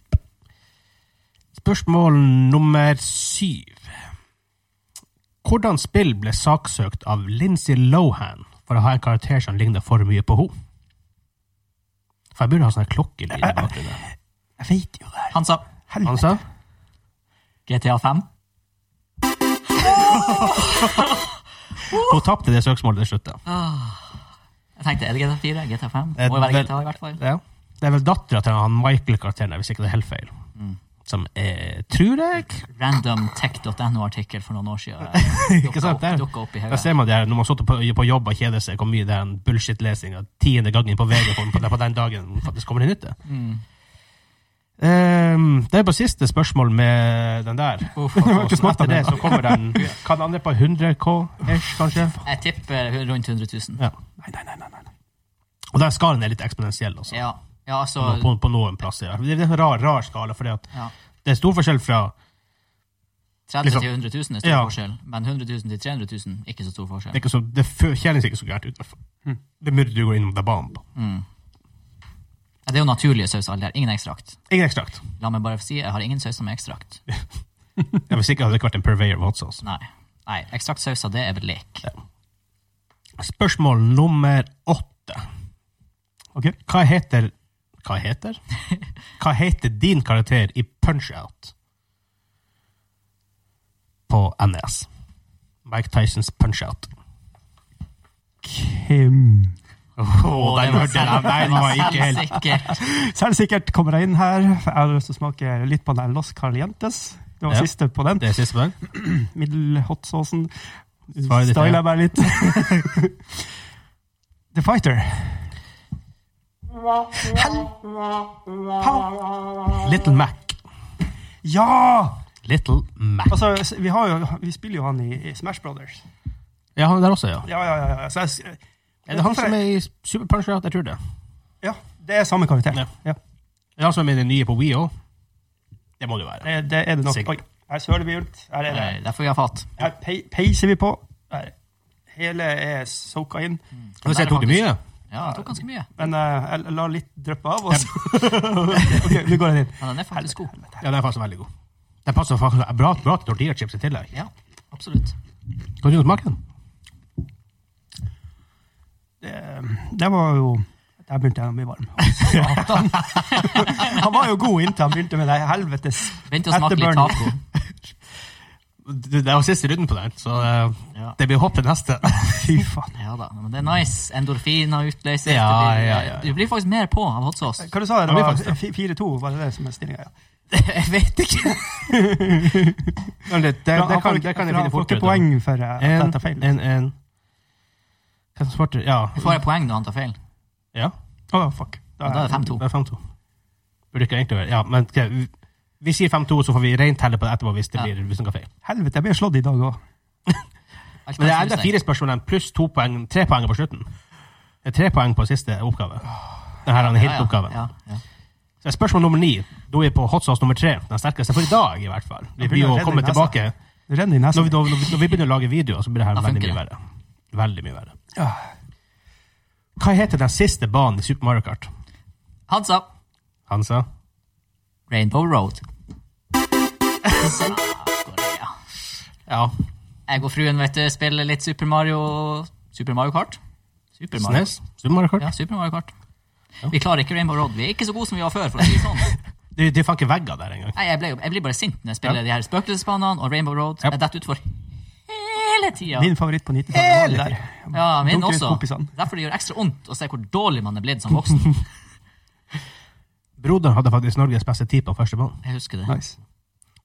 Spørsmål nummer syv. Hvordan spill ble saksøkt av Lindsay Lohan for å ha en karakter som ligner for mye på henne? For jeg burde ha sånn klokkelyd i bakgrunnen. Jeg vet jo det. her. Han sa Han Helvete. sa GTA 5. hun tapte det søksmålet til slutt. da. Jeg tenkte, er det GTA 4? GTA 5? Eh, Må jo være vel- GTA i hvert fall. Ja. Det er vel dattera til han Michael-karakteren, der, hvis ikke det er helt feil, som er Tror jeg Randomtech.no-artikkel for noen år siden. eh, Ikke sant, dukket det er- opp, dukket opp i Da hodet. ser man det her, når man sitter på, på jobb og kjeder seg, hvor mye den bullshit-lesinga tiende gangen på VG på, på, på den dagen faktisk kommer til nytte. Mm. Ehm, det er på siste spørsmål med den der. Uff. Og så ikke smakt etter den det så kommer den Hva den andre på 100 K, ish, kanskje? Jeg tipper rundt 100 000. Ja. Nei, nei, nei. nei, nei. Og den skalaen er litt eksponentiell, altså. Ja, ja altså På, på noen plasser. Ja. Det er en rar, rar skala, fordi at Ja. det er stor forskjell fra 30 Liksom. til 100 000 er stor Ja. forskjell, men 100 000 til 300 000 ikke så stor Det, er forskjell. ikke så, det fø- kjennes ikke så gærent ut. i hvert fall. Hm. Det murret du går innom the bomb. Mm. Ja, det er jo naturlige sauser, alle der. Ingen ekstrakt. Ingen ekstrakt. La meg bare få si, jeg har ingen saus som er ekstrakt. Ja, hvis ikke hadde det ikke vært en purveyor sånn. of hot sauce. Nei. Nei, ekstraktsauser, det er vel lek. Spørsmål nummer åtte. Ok. Hva heter Hva heter? Hva heter din karakter i Punch-Out på NES? Mike Tysons Punch-Out. Kim. Oh, den det var hørte jeg! Den var ikke helt Selvsikkert. Selvsikkert kommer jeg inn her. for Jeg har lyst til å smake litt på den her Los Calientes. Det var Ja. siste på den. Det er siste på den. Middelhotsausen. Svaret ditt, ja. Styler jeg bare litt. The Fighter. Little Mac. Ja! Little Mac. Altså, s- vi, har jo, vi spiller jo han i, i Smash Brothers. Ja, han er der også, ja. Ja, ja, ja. ja. Så jeg, s- Er det han som er i Super Punch Out? Jeg tror det. Ja, det er samme karakter. Ja. Ja. Er det han som er med i det nye på Wii òg? Det må det jo være. Det, det er det nok. Sikkert. Oi, her søler vi rundt. Her, er Eh, det. Derfor vi har fat. her pei- peiser vi på. Her. Hele er soka inn. Skal vi se, tok det mye? Ja, det tok ganske mye. Men eh, jeg lar litt dryppe av, og så Ok, nå går jeg inn. Men den er faktisk god. Ja, den er faktisk veldig god. Den passer faktisk bra, bra til tortillachips i tillegg. Ja, absolutt. Kan du smake den? Det, det var jo Der begynte jeg å bli varm. Satan. han var jo god inntil han begynte med det helvetes Begynte å smake litt Etterburn. taco. Det det var siste runden på den, så eh, Ja. det blir hopp til neste. Fy faen. Ja da, men det er nice. Endorfiner utløses. Ja, Det blir- ja, ja, ja. Du blir faktisk mer på av hot sauce. Hva du sa du? Ja, vi Det var faktisk det. fi- 4-2, var det det som er stillinga? Ja. Jeg vet ikke. Men Det, det, Han det, får kan, ikke- det kan jeg han finne får fort ikke ut. av. poeng for eh, at En, jeg tar feil. en, en. Hvem som svarte? Ja. Får jeg poeng når han tar feil? ja. Å, fuck. Da Ja, da er det 5-2. Det er 5-2. Burde ikke egentlig være Ja, men ok, vi- vi sier 5-2, så får vi reintelle på det etterpå hvis det Ja. blir hvis noe feil. Helvete, jeg ble slått i dag òg. Alt Men det er kan enda snus fire spørsmål igjen, pluss to poeng, tre poeng på slutten. Det er tre poeng på siste oppgave. Denne er en deg. helt oppgave. Ja, ja. Så spørsmål nummer ni. Da er vi på hot sauce nummer tre. Den sterkeste for i dag, i hvert fall. Vi Jeg blir jo begynner å komme redde nesa. tilbake. Det renner i Når nesen. vi, når, vi, når vi begynner å lage videoer, så blir det her Da veldig funker mye verre. Veldig mye verre. Ja. Hva heter den siste banen i Super Mario Kart? Hansa. Han sa Rainbow Road. Korea. Ja. Jeg og fruen vet du, spiller litt Super Mario Super Mario Kart. Super Mario. SNES? Super Mario Kart? Ja, Super Mario Kart. Vi klarer ikke Rainbow Road. Vi er ikke så gode som vi var før. for å si det sånn. Det, det er faen ikke vegger der engang. Nei, jeg, ble, jeg blir bare sint når jeg spiller de her spøkelsesbanene og Rainbow Road. Ja. Jeg detter utfor hele tida. Min favoritt på 90-tallet var det der. Ja, min Dunker ut også. kompisene. Derfor det gjør ekstra vondt å se hvor dårlig man er blitt som voksen. Broderen hadde faktisk Norges beste tid på første banen. Jeg husker det. Nice.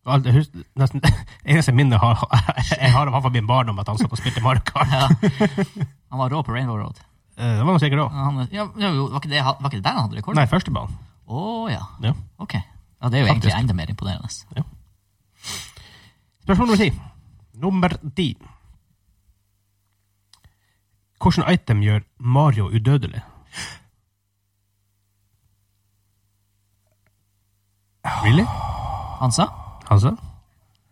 Og alt- jeg husker- nesten- Eneste minne har, jeg har av han fra min barndom, at han satt og spilte Mario Kart. Ja. Han var rå på Rainbow Road. Eh, Det var han sikkert òg. Han, ja, jo, var, ikke det, var ikke det der han hadde rekord? Nei, første banen. Å ja. Ja. Ok. Ja, det er jo egentlig Faktisk. enda mer imponerende. Spørsmål nummer ti. Nummer ti. Hvilket item gjør Mario udødelig? Really? Han sa Hansa?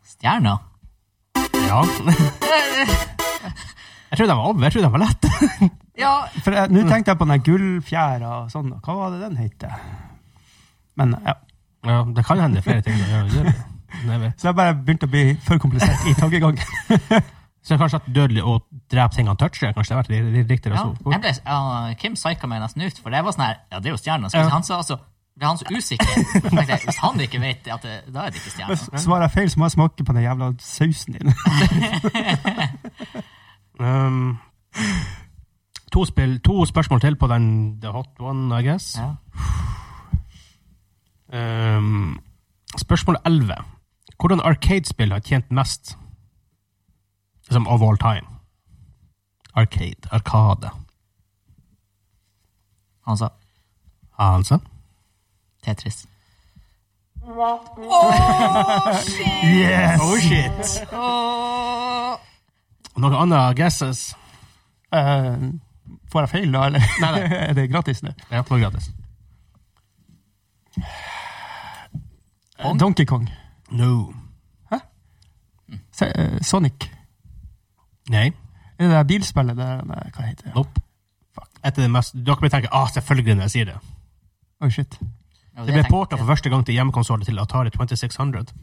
stjerna. Ja. Jeg trodde den var over. Jeg trodde den var lett. Ja, For jeg- Nå tenkte jeg på den der gullfjæra og sånn. og Hva var det den het? Men ja. Ja, det kan hende flere ting. Ja, det gjør det. Nei, vet. Så jeg bare begynte å bli for komplisert i tankegangen. Så det er kanskje at dødelig å drepe ting han toucher, kanskje det har vært litt- litt riktigere ja. å stå på. Jeg ble, ja Kim psyka meg nesten ut, for det var sånn her Ja, det er jo stjerna. Så Ja. hvis han sa altså ble han så usikker. Så tenkte jeg, Hvis han ikke vet det, at det, da er det ikke Men stjerna. s- Svarer jeg feil, så må jeg smake på den jævla sausen din. Um, to, spill, to spørsmål til på den The Hot One, I guess. Ja. Um, spørsmål 11. Hvordan arcade-spill har tjent mest liksom, of all time? Arcade. Arkade. Han sa Altså. Tetris. Yes! Oh shit! Noen andre guesses? Eh, får jeg feil da, eller? Nei, nei. er det gratis nå? Ja, noe gratis. Eh, Donkey Kong. No. Se, eh, Sonic. Nei. Er det der bilspillet der nei, Hva heter det? Nope. Etter det mest, dere bør tenke ah, selvfølgelig når jeg sier det. Oh, shit. Ja, Det ble tenkte porta jeg. for første gang til hjemmekonsollen til Atari 2600.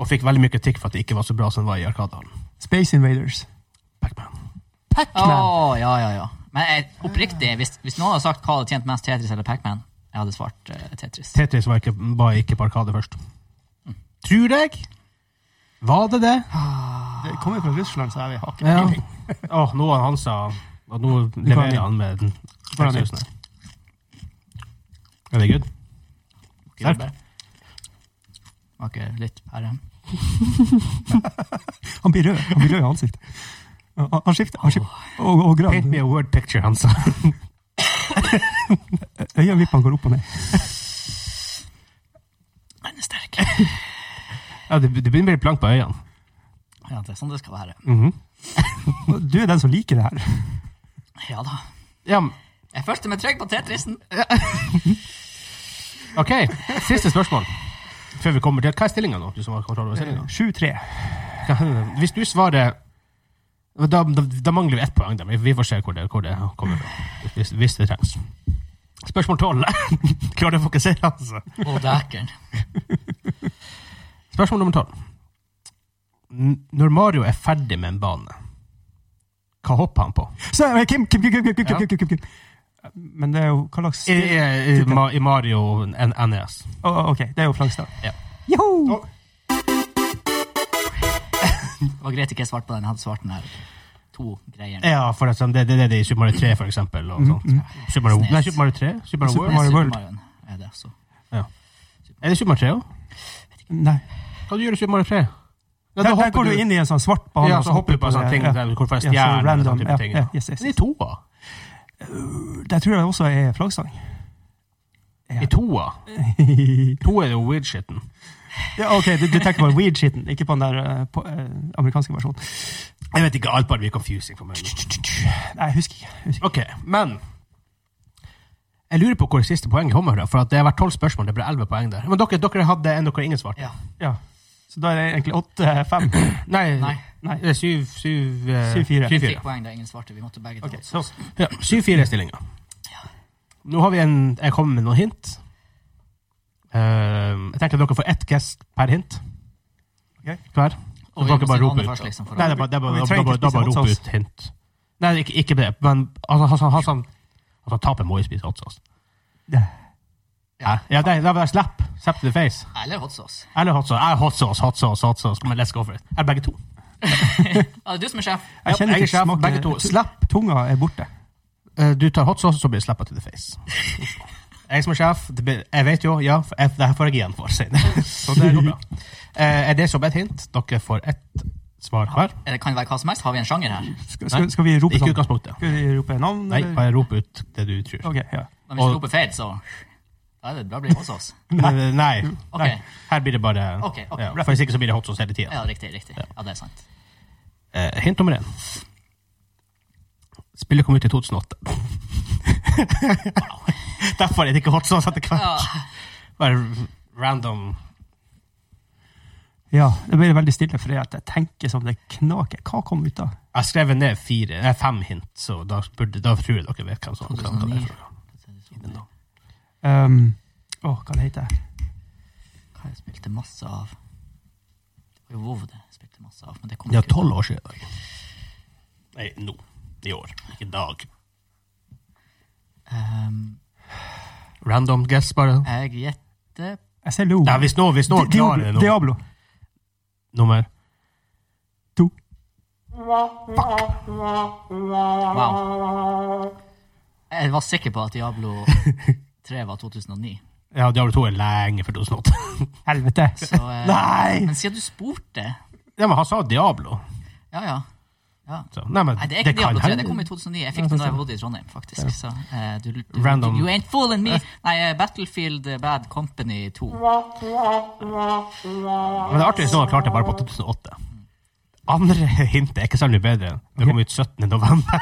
Og fikk veldig mye kritikk for at det ikke var så bra som det var i Arkadalen. Space Invaders. Pac-Man. Å, ja, ja, ja. Men jeg, oppriktig, hvis, hvis noen hadde sagt hva hadde tjent mest, Tetris eller Pacman, jeg hadde svart eh, Tetris. Tetris var ikke, var ikke på Arkade først. Tror jeg. Var det det? Det kommer fra Russland, så jeg har Ah. ikke Ja. peiling. Å, nå har han sa Og nå leverer han med den. Bare nytt. 6000. Er det good? Kult. Var ikke litt pære. Han blir rød Han blir rød i ansiktet. Han han skifter, han skifter. Og, og Paint grad. me a word picture, han sa. Øyenvippene går opp og ned. Den er sterk. Ja, det, det begynner å bli blankt på øynene. Ja, det er sånn det skal være. Mhm. Og Du er den som liker det her. Ja da. Ja, men- Jeg er først med trykk på Tetrisen. OK. Siste spørsmål. Før vi kommer til Hva er stillinga nå? Du som har kontroll over stillinga. 7-3. Hva- Hvis du svarer da, da, da mangler vi ett poeng. Da. Vi- Vi får se hvor det, hvor det kommer fra. Hvis, hvis det trengs. Spørsmål tolv. Klarer du å fokusere, altså? Å, dækeren. Spørsmål nummer tolv. N- Når Mario er ferdig med en bane, hva hopper han på? Så, eh, Kim, Kim, Kim, Kim, Kim, Kim, Ja. Kim, Kim, Kim, Kim. Men det er jo hva slags I, i, i, Ma- i Mario N- E NES. Å, å, OK, det er jo flaggstang. Ja. Joho! Det var greit ikke jeg svarte på den. Jeg hadde svart den her to greier. Ja, for at sånn, det, det, det er det i Super Mario 3, for eksempel. Og sånt. Super Mario, nei, Super Mario 3? Mm, Super Mario Super World? Mario World. Marioen er det, så. Er det Super Mario 3 òg? Nei. Hva du gjør du i Super Mario 3? Ja, Der, der går du inn i en sånn svart bane. Ja, og så hopper du på sånne ting. Ja. der Hvor får jeg Ja, så stjerner og random, sånne ja, type ting. ja, Ja, yes, yes, Men i yes. toa? Der tror jeg også er flaggstang. I toa? Toa er jo weird shitten. ja, OK, du, du tenker på weed-shitten, ikke på den der eh, på, eh, amerikanske versjonen. Jeg vet ikke, alt bare blir confusing for meg. nå. Nei, jeg husker ikke. Jeg husker ikke. Ok, men jeg lurer på hvor det siste poenget kommer fra, for at det har vært tolv spørsmål, det ble elleve poeng der. Men dere, dere hadde en dere ingen svarte. Ja. Ja. Så da er det egentlig 8-5. Nei, Nei. Nei. det er syv, syv, eh, Syv, fire. syv, Fikk fire. poeng da ingen svarte. Vi måtte begge ta Ok, oss. så. Ja, syv, fire stillinger. Nå har vi en, jeg kommer med noen hint. Eh, jeg tenker at dere får ett guess per hint. Ok. Hver. Så Og vi dere må bare si rope navnet ut. først, liksom, for Nei, å- det er bare, det er bare, Vi da, trenger bare, ikke da bare spise hot rope sauce. ut hint. Nei, ikke, ikke det. Men altså, han, han, han, altså, taper må jo spise hot sauce. Ja. Ja, ja det, det er slap. Slap to the face. Eller hot sauce. Eller hot sauce. Ja, hot sauce, hot sauce, hot sauce. Kom igjen, let's go for it. Er det begge to? Ja, det er du som er sjef. Jeg kjenner Ja, ikke er sjef, smaken. Begge to. Slap. Tunga er borte. Eh, Du tar hot sauce, så blir det slappa to the face. Jeg som er sjef, det blir, jeg vet jo, ja, for jeg, det her får jeg igjen for senere. Så det går bra. Eh, Er det som et hint? Dere får ett svar hver. Eh, Det kan være hva som helst. Har vi en sjanger her? Skal, skal, skal vi rope Ikke navn? utgangspunktet. Skal vi rope navn? Nei, eller? bare rop ut det du tror. Ok, ja. Men hvis Og- du roper feil, så Da er det bra blir det hot sauce. Nei. Nei. Ok. Her blir det bare Ok, ok. Ja, For hvis ikke så blir det hot sauce hele tida. Ja, riktig. riktig. Ja, det er sant. Eh, hint nummer én. Spillet kom ut i 2008. Derfor er det ikke hot sauce etter hvert. Ja. Bare random ja. Det ble veldig stille, for jeg tenker som det knaker. Hva kom ut da? Jeg skrev ned fire, nei, fem hint, så da, burde, da tror jeg dere vet hvem som hvem det er. 2009. fra. Um, Åh, hva det heter det? Hva jeg spilte masse av Det var jo WoW det jeg spilte masse av. Men det kom Det er ikke ut. tolv år siden. i dag. Nei, nå. I år. Ikke dag. Ehm, Random guess, bare. jeg gjetter Jeg ser Lou. Nei, hvis nå, hvis nå Di- Diablo- klarer det nå. Diablo. Nummer To. Wow. Jeg var sikker på at Diablo 3 var 2009. Ja, Diablo 2 er lenge før 2008. Helvete. Så, eh, Nei! Men siden du spurte Ja, men han sa Diablo. Ja, ja. ja. Så. Nei, men Nei, det er ikke Diablo 3. hende. Det kom i 2009. Jeg fikk den da jeg bodde i Trondheim, faktisk. Så, eh, du, du, Random. You ain't fooling me! Nei, eh, Battlefield eh, Bad Company 2. Men det er artig hvis noen har klart det bare på 2008. Andre hintet er ikke særlig bedre. Det kom ut 17. november.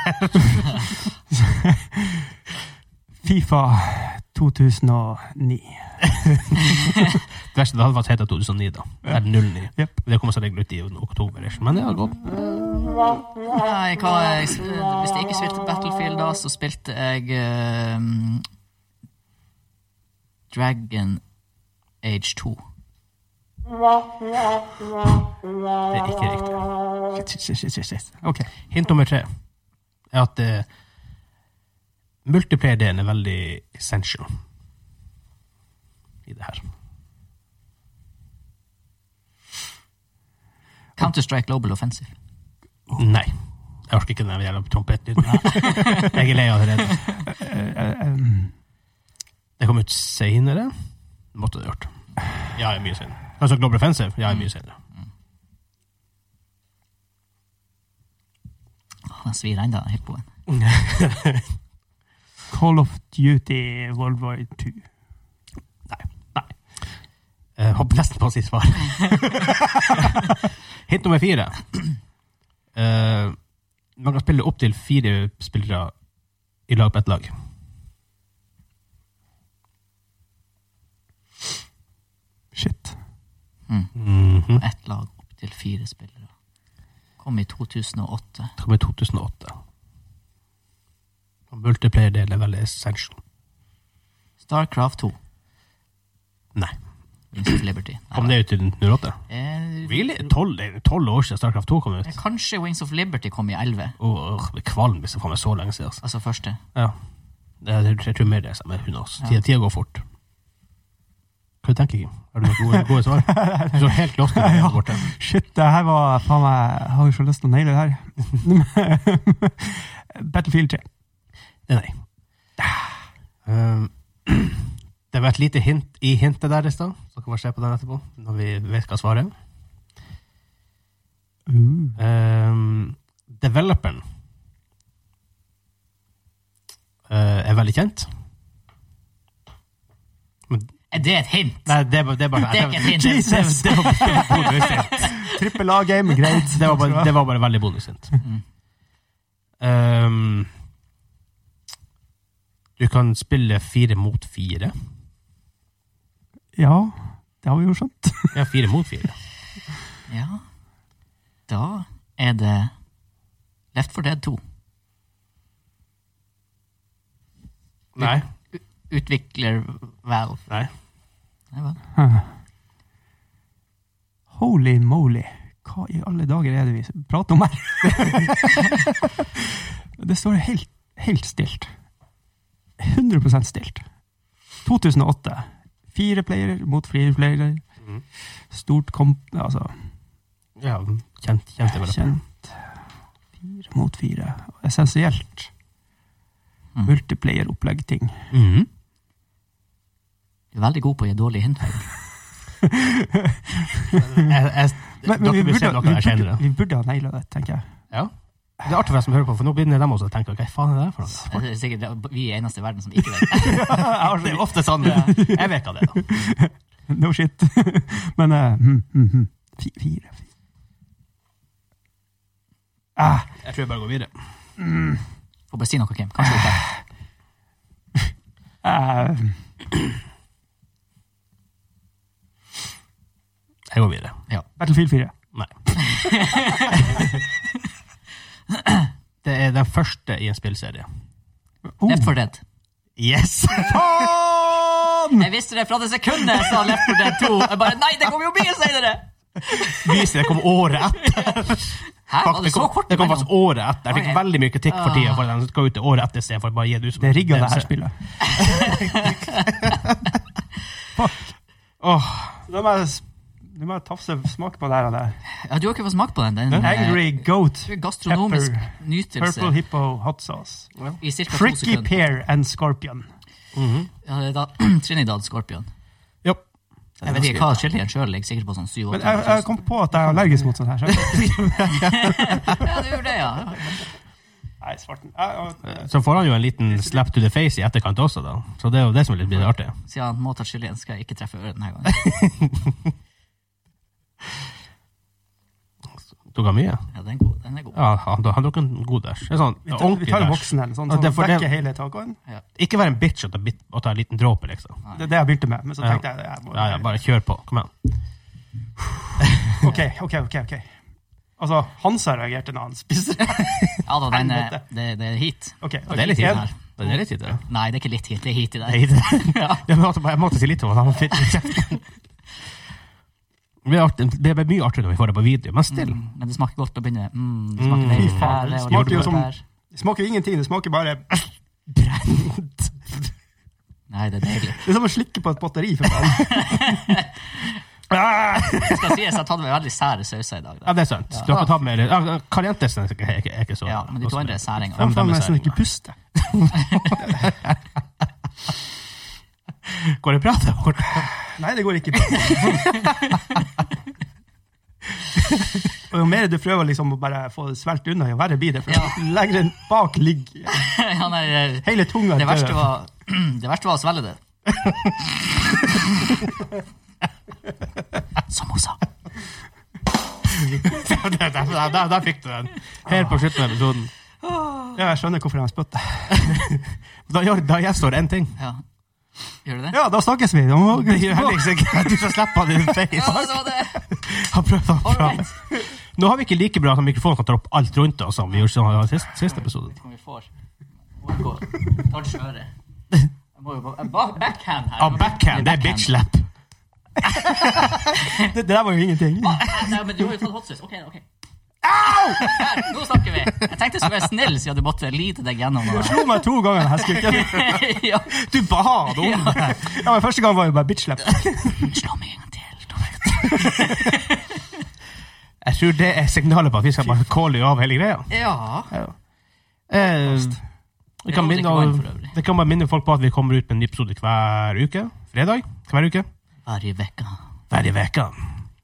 Fifa 2009. Det verste det hadde vært heta 2009, da. Det er 09. Jep. Det kommer seg regel ut i oktober. ish. Men ja, godt. Nei, hva, jeg, s- eh, hvis jeg ikke spilte Battlefield da, så spilte jeg eh, Dragon Age 2. Det er ikke riktig. Shit, shit, shit, shit, shit. Ok. Hint nummer tre er at eh, multiplayer-delen er veldig essential i det her. Counter-Strike Global Offensive. Nei. Jeg orker ikke den jævla trompetlyden. her. Jeg er lei allerede. Det kom ut seinere. Måtte det gjort. Ja, mye senere. Altså Global Offensive? Ja, mye senere. Den svir ennå, den hippoen. Call of Duty World War 2. Jeg håper nesten på å si svar. Hint nummer fire. Eh, man kan spille opp til fire spillere i lag på ett lag. Shit. Mm. Mhm. Ett lag opp til fire spillere. Kom i 2008. Det kom i 2008. Og Multiplayer-delen er veldig essential. Starcraft 2. Nei. Wings of Liberty. Nei, Kom det ut i 2008? eh, Really? 12, det er 12 år siden Starcraft 2 kom ut? eh, Kanskje Wings of Liberty kom i 11, Åh, jeg blir kvalm hvis det kommer så lenge siden. altså. altså første. Ja. Jeg, jeg, jeg tror mer det er altså, samme hund også. Tida, tida går fort. Hva du tenker du, Kim? Har du noen gode, gode svar? Du så helt lost ut der borte. Shit, det her var faen meg Jeg har jo så lyst til å naile det her. Battlefield 3. Nei, nei. Um, det var et lite hint i hintet der i stad. Så kan vi se på den etterpå, når vi vet hva svaret er. Uh. Um, developeren uh, er veldig kjent. Er Eh, det et hint? Nei, det, var- det er bare Det er ikke et hint. Det, det, det, var- det var bonushint. Trippel A-game, greit. det, var bare- det var bare veldig bonushint. Mm. Um, du kan spille fire mot fire. Ja, det har vi jo skjønt. Ja, fire mot fire. Ja. Da er det Left 4 Dead 2. Nei. Utvikler Valve. Nei. Nei vel. Holy moly. Hva i alle dager er det vi prater om her? det står helt, helt stilt. 100 stilt. 2008. Fire player mot fire player. Mhm. Stort komp... Altså, Ja, kjent, kjent det vel. kjent. Fire mot fire. Essensielt. Mm. Mhm. Multiplayer-opplegg-ting. Mhm. Du er veldig god på å gi dårlige hint. Jeg, jeg, Men, men vi, dere vil se burde, noe vi, der senere. burde, vi burde ha naila det, tenker jeg. Ja. Det er artig for dem som hører på, for nå begynner de også å tenke hva faen er det her for noe? Det er sikkert vi er eneste i verden som ikke vet. Det er ofte sånn. Jeg vet hva det er, da. No shit. Men eh, mm, mm, mm. Fi- Fire, fire. Ah, Jeg tror jeg bare går videre. Får bare si noe, Kim. Kanskje ikke. eh, Jeg går videre. Battlefield 4. Nei. Det er den første i en spillserie. Oh. Left 4 Dead. Yes! Faen! Jeg visste det fra det sekundet jeg sa Left 4 Dead 2. Jeg bare, nei, det kommer jo mye senere! Viser det kom året etter. Hæ, var det Det så kom, kort? det kom imellom? faktisk året etter. Jeg Oi, fikk jeg- veldig mye kritikk for tida for at den skal ut til året etter. i stedet for å bare gi det ut som Det rigga det her DLC. spillet. Åh, Nå må jeg, s- nå må jeg tafse smak på det her. og det. Ja, du har ikke fått smake på den. den eh, Angry goat, gastronomisk Pepper. nytelse purple hippo hot sauce. i cirka to Tricky sekunder. pear and scorpion. Ja, det er da Trinidad Scorpion. jo. Jeg vet ikke hva chilien sjøl ligger sikkert på sånn syv Men jeg, jeg kom på at jeg er allergisk mot sånt her. så- Ja, det gjør det, ja. Nei, svarten. Jeg- jeg- Så får han jo en liten slap to the face i etterkant også, da. Så det er jo det som er litt blir artig. Siden han må ta chilien, skal jeg ikke treffe øret denne gangen. Tok han mye? Ja, den er god. Den er god. Ja, han, han tok en god dash. En sånn Vi tar, vi ordentlig tar en dash. voksen eller sånn, Ja, sånn det er for det- dekker hele tacoen. Ikke vær en bitch og ta, bit, og ta en liten dråpe, liksom. Det er det jeg begynte med, men så Ja. tenkte jeg, jeg må- Ja, ja, bare kjør på. Kom igjen. Ok, ok, ok. ok. Altså, Hansa reagerte når han spiste. Ja da, den er, Helvete. det, det er heat. Ok, ok. Det er litt hit, En- det her. Det er litt hit, det. Nei, det er ikke litt heat, det er heat i Det det. er hit. Jeg måtte, jeg måtte si litt om det. Han fikk litt kjeft. Det blir artig- Det blir mye artigere når vi får det på video, men still. Mm, men det smaker godt å begynne. Mm, det smaker veldig Fy faen, fæle, det og smaker jo godt som- der. Det smaker jo ingenting, det smaker bare Det Nei, det er deilig. er som å slikke på et batteri, for faen. Ah! Det skal sies, jeg har tatt med veldig sære sauser i dag. Ja, Da. det er sant. Du har fått ta med litt ja, Calientes er ikke, er ikke- er ikke så Ja, men de to andre er særinger. Ja, Faen, men faen, de er jeg sånn særinger. ikke puste. Går det bra der borte? Nei, det går ikke. Og jo mer du prøver liksom å bare få det svelget unna, jo verre blir det. For Ja. jo lenger den bak ligger ja, nei, det, hele tunga eh, det, dør. verste var, det verste var å svelge det. Som hun sa. der, der, der, der, der fikk du den. Helt på slutten av episoden. Ja, jeg skjønner hvorfor de spytter. Da, gjør, da gjenstår én ting. Ja. Gjør du det? Ja, da snakkes vi. Da må Det gjør Henrik sikkert. Du skal slippe han i Ja, face. det var det. Han prøvde, han All prøvde. right. Nå har vi ikke like bra at mikrofonen kan ta opp alt rundt oss som vi gjorde sånn, sist, sist episode. Om vi får Må gå. Ta det skjøre. Jeg må jo bare- ba- Backhand her. Ja, Ah, backhand, det er bitch slap. det, det der var jo ingenting. Eh, Nei, men du har jo tatt hot sauce. Ok, ok. Her, nå snakker vi. Jeg tenkte jeg skulle være snill siden du måtte lite deg gjennom. Du slo meg to ganger, den heskegutten. og- ja. Du ba han om det. Ja, men første gang var jo bare bitch slap. Slå meg en gang til. da vet Jeg tror det er signalet på at vi skal bare calle av hele greia. jeg. Ja. Eh, vi kan minne, Jeg må drikke vann for øvrig. det kan bare minne folk på at vi kommer ut med en ny episode hver uke. Fredag hver uke. Hver i vekka. Hver i veka.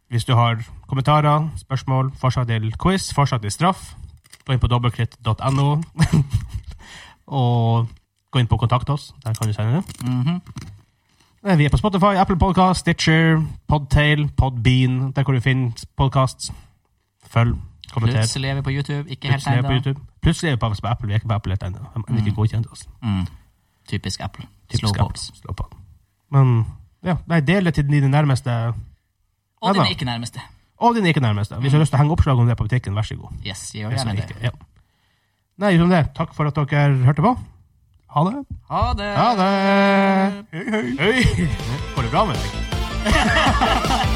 Hvis du har kommentarer, spørsmål, forslag til quiz, forslag til straff, gå inn på dobbeltkritt.no, og gå inn på kontakt oss. Der kan du sende det. Mhm. Eh, Vi er på Spotify, Apple Podcast, Stitcher, Podtail, Podbean, der hvor du finner podcasts. Følg, kommenter. Plutselig er vi på YouTube. Ikke helt Plutselig er vi på ennå. YouTube. Plutselig er vi på på Apple, vi er ikke på Apple helt ennå. De er ikke godkjent altså. oss. Mm. Typisk Apple. Typisk Slow Apple. pops. Slå på. Men ja, nei, del det til dine nærmeste, Og den Ja da. er ikke nærmeste. og dine ikke nærmeste. Hvis du har lyst til å henge oppslag om det på butikken, vær så god. Yes, gjør Hvis gjerne du det. ikke- Ja. Nei, utenom det, takk for at dere hørte på. Ha det. Ha det. Ha det. Hei, hei. Går det bra med deg?